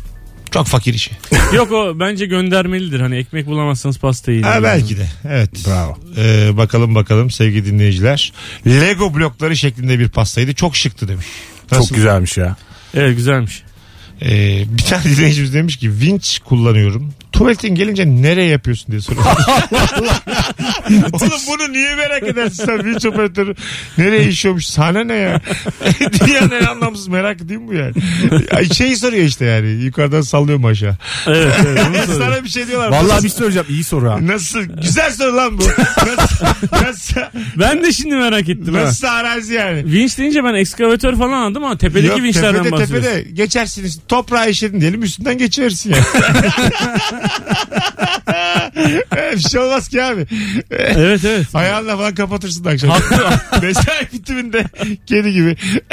S2: Çok fakir işi.
S3: Yok o bence göndermelidir. Hani ekmek bulamazsanız pasta yiyin.
S2: Ha, belki de. Evet.
S4: Bravo.
S2: Ee, bakalım bakalım sevgili dinleyiciler. Lego blokları şeklinde bir pastaydı. Çok şıktı demiş.
S4: Çok
S2: Nasıl?
S4: güzelmiş ya.
S3: Evet güzelmiş.
S2: Ee, bir tane dinleyicimiz demiş ki vinç kullanıyorum. Tuvaletin gelince nereye yapıyorsun diye soruyor. Oğlum bunu niye merak edersin sen vinç operatörü? Nereye işiyormuş? Sana ne ya? Dünyanın en anlamsız merak değil mi bu yani? Ay, Şeyi soruyor işte yani. Yukarıdan sallıyor mu aşağı?
S3: Evet, evet onu soruyorum.
S2: Sana bir şey diyorlar.
S4: Vallahi
S2: Nasıl-
S4: bir söyleyeceğim iyi soru ha.
S2: Nasıl? Güzel soru lan bu. Nasıl? Nasıl?
S3: Ben de şimdi merak ettim. ha.
S2: Nasıl arazi yani?
S3: Vinç deyince ben ekskavatör falan anladım ama tepedeki
S2: Yok,
S3: vinçlerden
S2: tepede,
S3: bahsediyorsun.
S2: tepede geçersiniz. Toprağa işedin diyelim üstünden geçersin ya. bir şey olmaz ki abi.
S3: Evet evet.
S2: Ayağınla falan kapatırsın da akşam. Mesai bitiminde kedi gibi.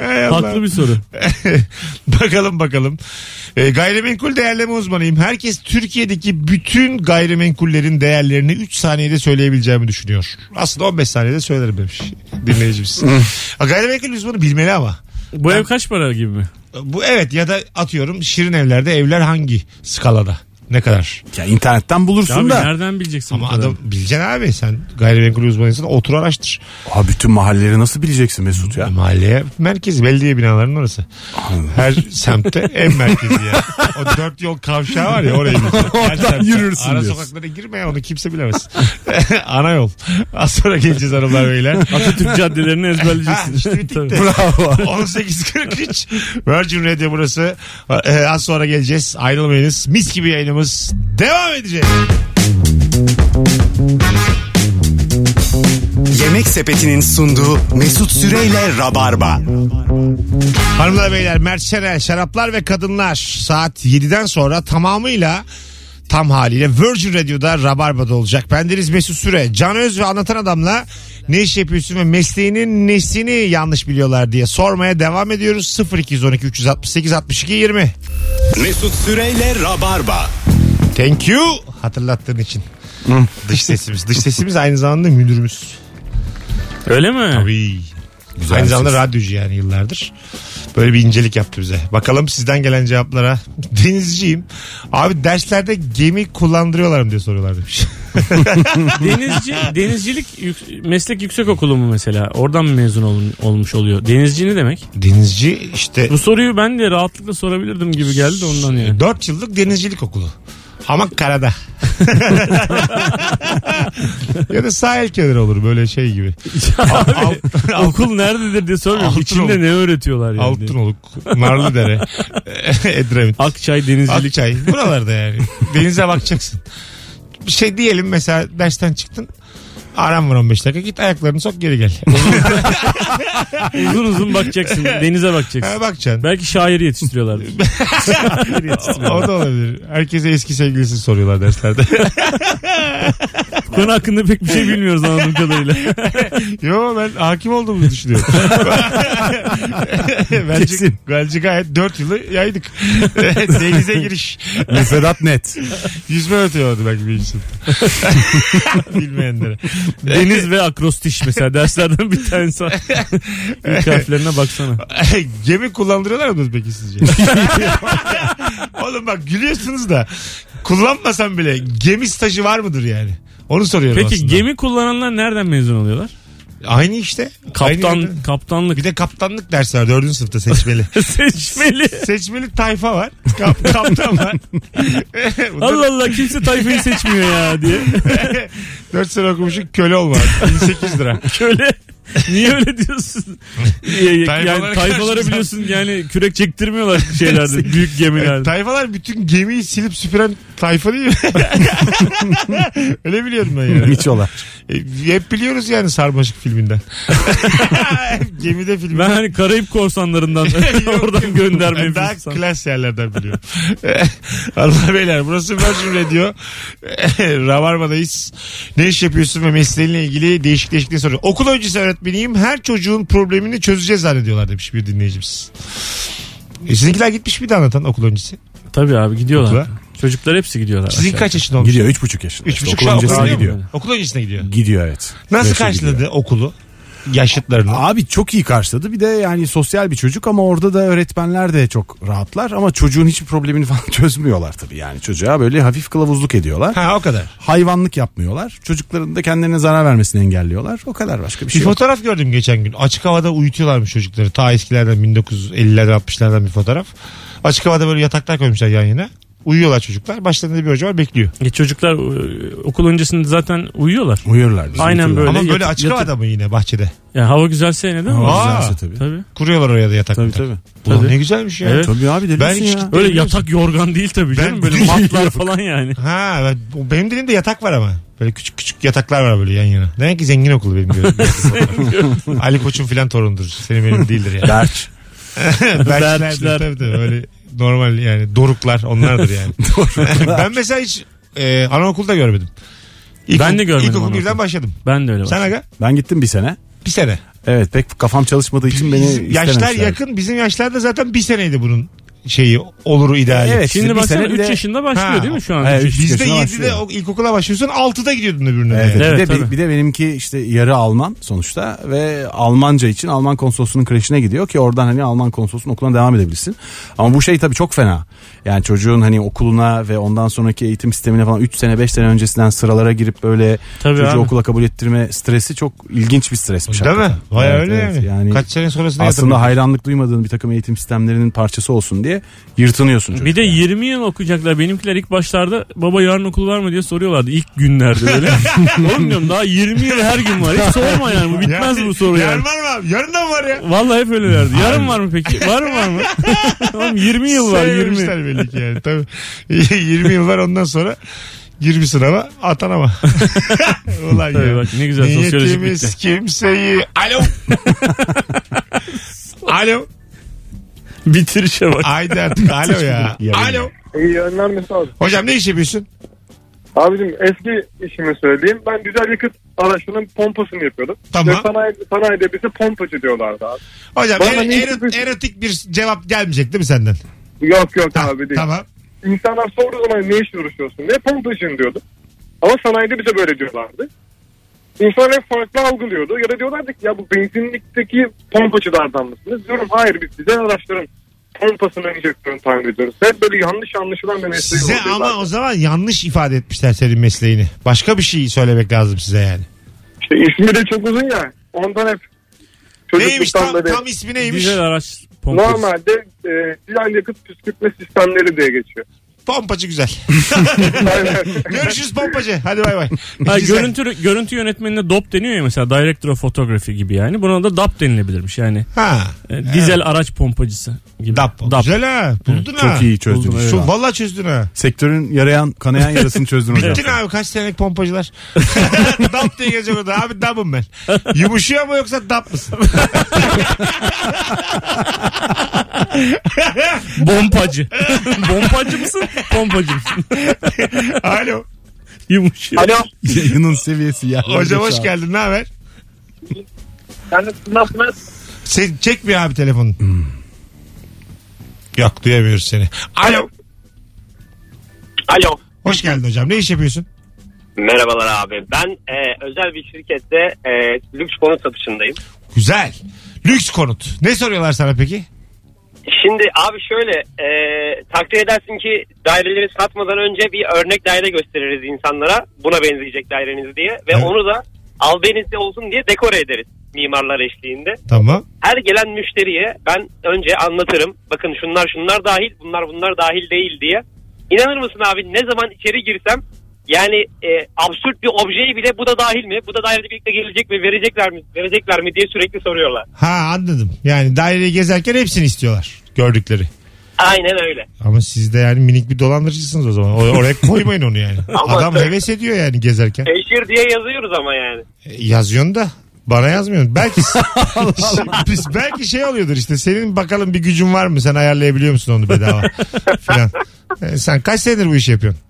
S2: Hay Allah.
S3: Haklı bir soru.
S2: bakalım bakalım. Ee, gayrimenkul değerleme uzmanıyım. Herkes Türkiye'deki bütün gayrimenkullerin değerlerini 3 saniyede söyleyebileceğimi düşünüyor. Aslında 15 saniyede söylerim demiş dinleyicimiz. Ha, Gayrimenkul uzmanı bilmeli ama.
S3: Bu ev kaç para gibi mi?
S2: Bu evet ya da atıyorum şirin evlerde evler hangi skalada? Ne kadar?
S4: Ya internetten bulursun
S3: Abi
S4: da.
S3: nereden bileceksin
S2: Ama
S3: bu kadar?
S2: adam bileceksin abi sen gayrimenkul uzmanıysan otur araştır. E,
S4: Aa, bütün mahalleleri nasıl bileceksin Mesut ya?
S2: Mahalleye merkez belediye binalarının orası. Her semtte en merkezi ya. O dört yol kavşağı var ya orayı bileceksin. Her
S4: Oradan
S2: semtte.
S4: yürürsün
S2: Ara
S4: diyorsun.
S2: sokaklara girme ya onu kimse bilemez. Ana yol. Az sonra geleceğiz hanımlar beyler.
S3: Atatürk caddelerini
S2: Ha,
S3: ezberleyeceksin.
S2: işte bitik de.
S3: Tabii.
S2: 18.43 Virgin Radio burası. Ee, Az sonra geleceğiz. Ayrılmayınız. Mis gibi yayınımız devam edecek.
S1: Yemek Sepeti'nin sunduğu Mesut Süreyle Rabarba.
S2: Hanımlar beyler Mert Şener, Şaraplar ve Kadınlar saat 7'den sonra tamamıyla tam haliyle Virgin Radio'da Rabarba'da olacak. Bendeniz Mesut Süre, Can Öz ve Anlatan Adam'la ne iş yapıyorsun ve mesleğinin nesini yanlış biliyorlar diye sormaya devam ediyoruz. 0212 368 62 20.
S1: Mesut Süreyle Rabarba.
S2: Thank you hatırlattığın için. dış sesimiz. Dış sesimiz aynı zamanda müdürümüz.
S3: Öyle mi?
S2: Tabii. Aynı zamanda radyocu yani yıllardır. Böyle bir incelik yaptı bize. Bakalım sizden gelen cevaplara. Denizciyim. Abi derslerde gemi kullandırıyorlar mı diye soruyorlar demiş.
S3: Denizci, denizcilik yük- meslek yüksek okulu mu mesela? Oradan mı mezun olun- olmuş oluyor? Denizci ne demek?
S2: Denizci işte
S3: Bu soruyu ben de rahatlıkla sorabilirdim gibi geldi de ondan yani.
S2: 4 yıllık denizcilik okulu. Ama karada. ya da sahil kenarı olur böyle şey gibi. Al-
S3: Okul nerededir diye sormuyorum.
S2: Altın
S3: İçinde
S2: olmuş.
S3: ne öğretiyorlar yani? diye.
S2: Altınoluk, Narlıdere, Edremit.
S3: Akçay denizcilik.
S2: Akçay. Buralarda yani. Denize bakacaksın. Bir şey diyelim mesela dersten çıktın. Aram var 15 dakika. Git ayaklarını sok geri gel.
S3: Uzun uzun bakacaksın. Denize bakacaksın.
S2: Ha, bakacaksın.
S3: Belki şair yetiştiriyorlardır.
S2: o da olabilir. Herkese eski sevgilisini soruyorlar derslerde.
S3: Bu konu hakkında pek bir şey bilmiyoruz anladığım kadarıyla.
S2: Yo ben hakim olduğumuzu düşünüyorum. bence,
S4: Kesin.
S2: bence gayet 4 yılı yaydık. Denize giriş.
S4: Müfredat net.
S2: Yüzme öğretiyorlardı belki bir sınıfta. Bilmeyenlere.
S3: Deniz ve akrostiş mesela derslerden bir tanesi. İlk harflerine baksana.
S2: Gemi kullandırıyorlar mı peki sizce? Oğlum bak gülüyorsunuz da kullanmasam bile gemi stajı var mıdır yani? Onu soruyorum
S3: Peki
S2: aslında.
S3: gemi kullananlar nereden mezun oluyorlar?
S2: Aynı işte.
S3: Kaptan,
S2: Aynı yerde.
S3: kaptanlık.
S2: bir de kaptanlık dersi var dördüncü sınıfta seçmeli.
S3: Seçmeli.
S2: seçmeli tayfa var. Kap, kaptan var.
S3: Allah Allah kimse tayfayı seçmiyor ya diye.
S2: 4 sene okumuşsun köle olma. 1800 lira.
S3: Köle. Niye öyle diyorsun? Yani
S2: Tayfalara
S3: tayfalara
S2: karşı-
S3: biliyorsun yani kürek çektirmiyorlar şeylerde büyük gemilerde.
S2: Tayfalar bütün gemiyi silip süpüren tayfa değil mi? Öyle biliyorum ben yani.
S4: Miçolar.
S2: E, Hep biliyoruz yani sarmaşık filminden. Hep Gemide
S3: Ben
S2: filminden.
S3: hani Karayip korsanlarından oradan gönderme
S2: Ben daha
S3: yapıyorsam.
S2: klas yerlerden biliyorum. Allah beyler burası Virgin Radio. Rabarba'dayız. Ne iş yapıyorsun ve mesleğinle ilgili değişik değişik ne soruyor. Okul öncesi öğretmeniyim. Her çocuğun problemini çözeceğiz zannediyorlar demiş bir dinleyicimiz. E, sizinkiler gitmiş bir de anlatan okul öncesi.
S3: Tabii abi gidiyorlar.
S2: Okula.
S3: Çocuklar hepsi gidiyorlar.
S2: Sizin
S3: aşağı.
S2: kaç yaşında olmuş?
S4: Gidiyor 3,5 yaşında.
S2: Üç
S4: İşte
S2: buçuk
S4: okul
S2: şu an
S4: öncesine
S2: okula
S4: gidiyor.
S2: Okul öncesine gidiyor.
S4: Gidiyor evet.
S2: Nasıl
S4: Kreşe
S2: karşıladı
S4: gidiyor.
S2: okulu? yaşıtlarını.
S4: Abi çok iyi karşıladı. Bir de yani sosyal bir çocuk ama orada da öğretmenler de çok rahatlar. Ama çocuğun hiçbir problemini falan çözmüyorlar tabii. Yani çocuğa böyle hafif kılavuzluk ediyorlar.
S2: Ha o kadar.
S4: Hayvanlık yapmıyorlar. Çocukların da kendilerine zarar vermesini engelliyorlar. O kadar başka bir
S2: Bir
S4: şey yok.
S2: fotoğraf gördüm geçen gün. Açık havada uyutuyorlarmış çocukları. Ta eskilerden 1950'lerden 60'lardan bir fotoğraf. Açık havada böyle yataklar koymuşlar yan yana. Uyuyorlar çocuklar. Başlarında bir hoca var bekliyor.
S3: E, çocuklar e, okul öncesinde zaten uyuyorlar.
S4: Uyuyorlar. bizim
S3: Aynen
S4: uyuyorlar.
S3: Böyle
S2: Ama böyle
S3: yatıp-
S2: açık havada mı yine bahçede?
S3: Ya hava güzelse ne değil mi?
S2: Hava-
S4: Ama
S2: Aa.
S4: güzelse tabii.
S3: Tabii.
S2: Kuruyorlar oraya da yatak.
S4: Tabii
S2: mutak.
S4: tabii.
S2: Ulan
S3: Tabii.
S2: ne güzelmiş ya.
S3: Evet.
S4: Tabii abi deli
S2: Ben
S4: misin
S2: hiç
S4: ya.
S2: gitmedim.
S3: Öyle yatak yorgan değil tabii
S2: Ben-
S3: canım. Böyle matlar falan yani.
S2: Ha ben- benim dilimde yatak var ama. Böyle küçük küçük yataklar var böyle yan yana. Demek ki zengin okulu benim gördüğüm. Ali Koç'un filan torunudur. Senin benim değildir yani.
S4: Berç.
S2: Berçlerdir tabii tabii. Öyle normal yani doruklar onlardır yani. ben mesela hiç e, anaokulda görmedim. İlk,
S3: Ben de görmedim
S2: İlkokul birden
S3: anaokulda.
S2: başladım.
S3: Ben de öyle
S2: Sen
S3: var.
S2: aga
S4: Ben gittim bir sene.
S2: bir sene.
S4: Evet pek kafam çalışmadığı için beni
S2: Bizim yaşlar
S4: istememişler.
S2: yakın. Bizim yaşlarda zaten bir seneydi bunun şeyi olur ideali.
S4: Evet,
S3: Şimdi
S4: bir
S3: baksana
S4: sene bir
S3: 3
S4: de-
S3: yaşında başlıyor
S2: Ha.
S3: değil mi şu an?
S4: Evet.
S3: Üç-
S2: Bizde
S4: yaşına
S2: 7'de
S4: başlıyor.
S2: o- ilkokula başlıyorsun 6'da gidiyordun öbürüne.
S4: Evet,
S2: yani.
S4: evet.
S3: Evet,
S4: bir, de,
S3: tabii.
S4: bir de benimki işte yarı Alman sonuçta ve Almanca için Alman konsolosunun kreşine gidiyor ki oradan hani Alman konsolosunun okuluna devam edebilirsin. Ama bu şey tabii çok fena. Yani çocuğun hani okuluna ve ondan sonraki eğitim sistemine falan 3 sene 5 sene öncesinden sıralara girip böyle
S3: Tabii
S4: çocuğu
S3: abi.
S4: okula kabul ettirme stresi çok ilginç bir stresmiş.
S2: Değil mi?
S4: hakikaten.
S2: Vay
S4: Evet,
S2: öyle
S4: evet.
S2: yani. Kaç sene sonrasında
S4: aslında
S2: yatırım.
S4: hayranlık duymadığın bir takım eğitim sistemlerinin parçası olsun diye yırtınıyorsun çocuk.
S3: Bir de
S4: yani.
S3: 20 yıl okuyacaklar. Benimkiler ilk başlarda baba yarın okul var mı diye soruyorlardı ilk günlerde böyle. Oğlum diyorum daha 20 yıl her gün var. Hiç sorma yani bu bitmez
S2: Yani
S3: bu soru yani.
S2: Yarın var mı abi? Yarın da mı var ya?
S3: Vallahi hep öylelerdi. Yarın var mı peki? Var mı var mı? Oğlum 20 yıl var 20.
S2: Sevmemişler belli ki yani. Tabii. 20 yıl var ondan sonra girmiş sınava atanama. Ulan
S3: Tabii
S2: ya.
S3: bak ne güzel sosyolojik
S2: Niyetimiz
S3: bitti.
S2: kimseyi. Alo. Alo.
S3: Bitirişe bak.
S2: Haydi artık alo ya. Alo.
S9: İyi yönler mesela.
S2: Hocam ne iş yapıyorsun?
S9: Abicim eski işimi söyleyeyim. Ben güzel yakıt araçlarının pompasını yapıyordum.
S2: Tamam.
S9: Ve sanayi, sanayide bize pompacı diyorlardı abi.
S2: Hocam
S9: Bana
S2: er-
S9: ne iş
S2: ero-
S9: yapıyorsun?
S2: erotik bir cevap gelmeyecek değil mi senden?
S9: Yok yok
S2: Ta-
S9: abi değil.
S2: Tamam.
S9: İnsanlar sorduğu zaman ne işle uğraşıyorsun diye pompacıyım diyordum. Ama sanayide bize böyle diyorlardı. İnsanlar hep farklı algılıyordu. Ya da diyorlardı ki ya bu benzinlikteki pompacılardan mısınız? Diyorum hayır biz bize araçların pompasını enjektörünü tamir ediyoruz. Hep böyle yanlış anlaşılan bir mesleği
S2: Size ama o zaman yanlış ifade etmişler senin mesleğini. Başka bir şey söylemek lazım size yani.
S9: İşte ismi de çok uzun ya. Ondan hep
S2: Neymiş tam,
S9: çocukluktan beri.
S2: tam ismi neymiş?
S3: Güzel araç pompası.
S9: Normalde e, dizel yakıt püskürtme sistemleri diye geçiyor.
S2: Pompacı güzel.
S9: Aynen.
S2: Görüşürüz pompacı. Hadi bay bay.
S3: Ha,
S2: Güzel.
S3: görüntü, görüntü yönetmenine DOP deniyor ya mesela Director of Photography gibi yani. Buna da DAP denilebilirmiş yani.
S2: Ha.
S3: E, Dizel araç pompacısı gibi.
S2: Dap. Güzel ha. Buldun ha.
S4: çok iyi çözdün.
S3: Buldum,
S4: işte.
S2: Şu, valla çözdün ha.
S4: Sektörün yarayan kanayan yarasını çözdün hocam.
S2: Bittin abi kaç senelik pompacılar. dap diye gelecek orada. Abi dabım ben. Yumuşuyor mu yoksa dap mısın?
S3: Bompacı. Bompacı mısın? Pompacı mısın?
S2: Alo.
S3: Yumuşuyor.
S9: Alo.
S4: Yayının seviyesi ya.
S2: Hocam hoş geldin. Ne haber?
S9: Yani nasılsınız?
S2: Sen çekmiyor abi telefonun. Yok duyamıyoruz seni. Alo.
S10: Alo.
S2: Hoş geldin hocam. Ne iş yapıyorsun?
S10: Merhabalar abi. Ben e, özel bir şirkette e, lüks konut satışındayım.
S2: Güzel. Lüks konut. Ne soruyorlar sana peki?
S10: Şimdi abi şöyle e, takdir edersin ki daireleri satmadan önce bir örnek daire gösteririz insanlara. Buna benzeyecek daireniz diye. Ve
S2: Evet.
S10: onu da albenizde olsun diye dekore ederiz mimarlar eşliğinde.
S2: Tamam.
S10: Her gelen müşteriye ben önce anlatırım. Bakın şunlar şunlar dahil bunlar bunlar dahil değil diye. İnanır mısın abi ne zaman içeri girsem yani e, absürt bir objeyi bile bu da dahil mi? Bu da daireyle birlikte gelecek mi? Verecekler mi? Verecekler mi diye sürekli soruyorlar.
S2: Ha anladım. Yani daireyi gezerken hepsini istiyorlar. Gördükleri.
S10: Aynen öyle.
S2: Ama siz de yani minik bir dolandırıcısınız o zaman. O- Oraya koymayın onu yani.
S10: Ama-
S2: Adam heves ediyor yani gezerken.
S9: E-
S10: Eşir diye yazıyoruz ama yani.
S2: E, Yazıyorsun da bana yazmıyorsun. Belki Biz- belki şey oluyordur işte. Senin bakalım bir gücün var mı? Sen ayarlayabiliyor musun onu bedava? Falan. E, sen kaç senedir bu işi yapıyorsun?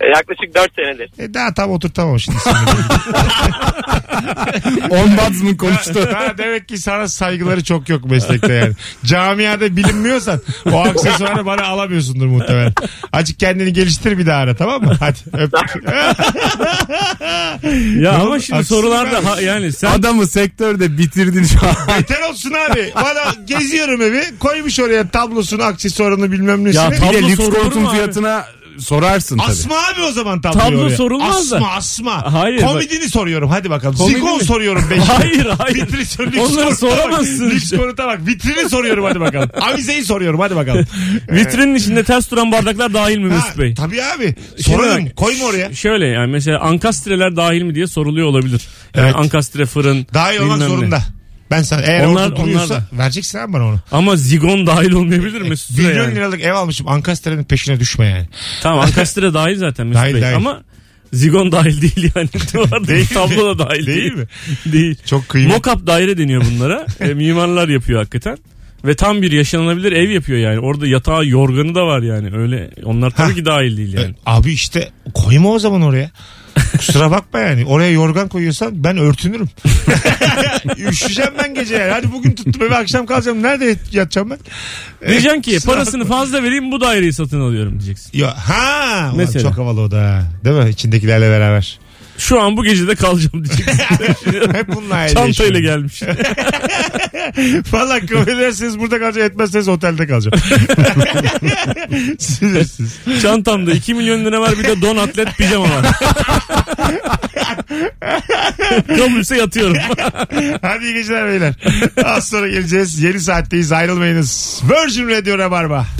S10: E, yaklaşık 4 senedir.
S2: E daha tam oturtamamışsın.
S4: Ombudsman konuştu.
S2: Daha demek ki sana saygıları çok yok meslekte yani. Camiada bilinmiyorsan o aksesuarı bana alamıyorsundur muhtemelen. Azıcık kendini geliştir bir daha ara tamam mı? Hadi öptük.
S3: Ya ama
S2: oldu?
S3: şimdi
S2: Haksız
S3: sorularda
S2: abi.
S3: ha- yani sen
S4: Adamı sektörde bitirdin şu an.
S2: Beter olsun abi. Bana geziyorum evi. Koymuş oraya tablosunu, aksesuarını bilmem nesini.
S3: Ya
S4: Bir
S3: Tablo
S4: de lüks
S3: sorulur mu
S4: koltuğun
S3: abi?
S4: fiyatına sorarsın tabii.
S2: Asma abi o zaman tabloyu
S3: Tablo
S2: oraya.
S3: sorulmaz da.
S2: Asma asma.
S3: Hayır, bak-
S2: Komedini soruyorum hadi bakalım.
S3: Komedi
S2: Sikon
S3: mi?
S2: soruyorum. Beş.
S3: Hayır, hayır.
S2: Vitrini sor- lüks
S3: Onları
S2: konuta
S3: soramazsın.
S2: Bak. Lüks konuta bak. Vitrini soruyorum hadi bakalım. Avizeyi soruyorum hadi bakalım.
S3: vitrinin içinde ters duran bardaklar dahil mi
S2: Ha,
S3: Mesut Bey?
S2: tabii abi.
S3: Şimdi
S2: Sorarım.
S3: bak,
S2: Koyma oraya.
S3: ş- Şöyle yani mesela ankastreler dahil mi diye soruluyor olabilir. Yani
S2: Evet.
S3: ankastre fırın.
S2: Daha iyi olmak
S3: bilmem ne.
S2: zorunda. Ben sana eğer
S3: Onlar-
S2: orada duruyorsa
S3: onlar
S2: vereceksin abi bana onu.
S3: Ama zigon dahil
S2: E,
S3: olmayabilir Mesut Bey
S2: Milyon
S3: yani.
S2: liralık ev almışım. Ankastre'nin peşine düşme yani.
S3: Tamam ankastre dahil zaten Mesut
S2: Dahil,
S3: Bey.
S2: dahil.
S3: Ama zigon dahil değil yani. Duvarda
S2: Değil.
S3: Tablo da dahil
S2: Değil
S3: değil.
S2: mi?
S3: Değil.
S2: Çok kıymetli.
S3: Mokap daire deniyor bunlara. E, mimarlar yapıyor hakikaten. Ve tam bir yaşanılabilir ev yapıyor yani. Orada yatağı yorganı da var yani. Öyle onlar tabii
S2: Ha. E,
S3: ki dahil değil yani.
S2: Abi işte koyma o zaman oraya. Kusura bakma yani. Oraya yorgan koyuyorsan ben örtünürüm. Üşüşeceğim ben gece yani. Hadi bugün tuttum eve akşam kalacağım. Nerede yatacağım ben?
S3: Diyeceksin ki
S2: kusura
S3: parasını fazla vereyim bu daireyi satın alıyorum diyeceksin.
S2: Ya, ha ulan
S3: Mesela.
S2: çok havalı o da. ha. Değil mi? İçindekilerle beraber.
S3: Şu an bu gecede kalacağım diyeceksin.
S2: Hep bununla hayal
S3: Çantayla
S2: yaşıyorum.
S3: gelmiş.
S2: Valla kabul ederseniz burada kalacağım. Etmezseniz otelde kalacağım. Sinirsiz.
S3: Çantamda 2 milyon lira var bir de don atlet pijama var. Kabulse yatıyorum.
S2: Hadi iyi geceler beyler. Az sonra geleceğiz. Yeni saatteyiz. Ayrılmayınız. Virgin Radio Rabarba.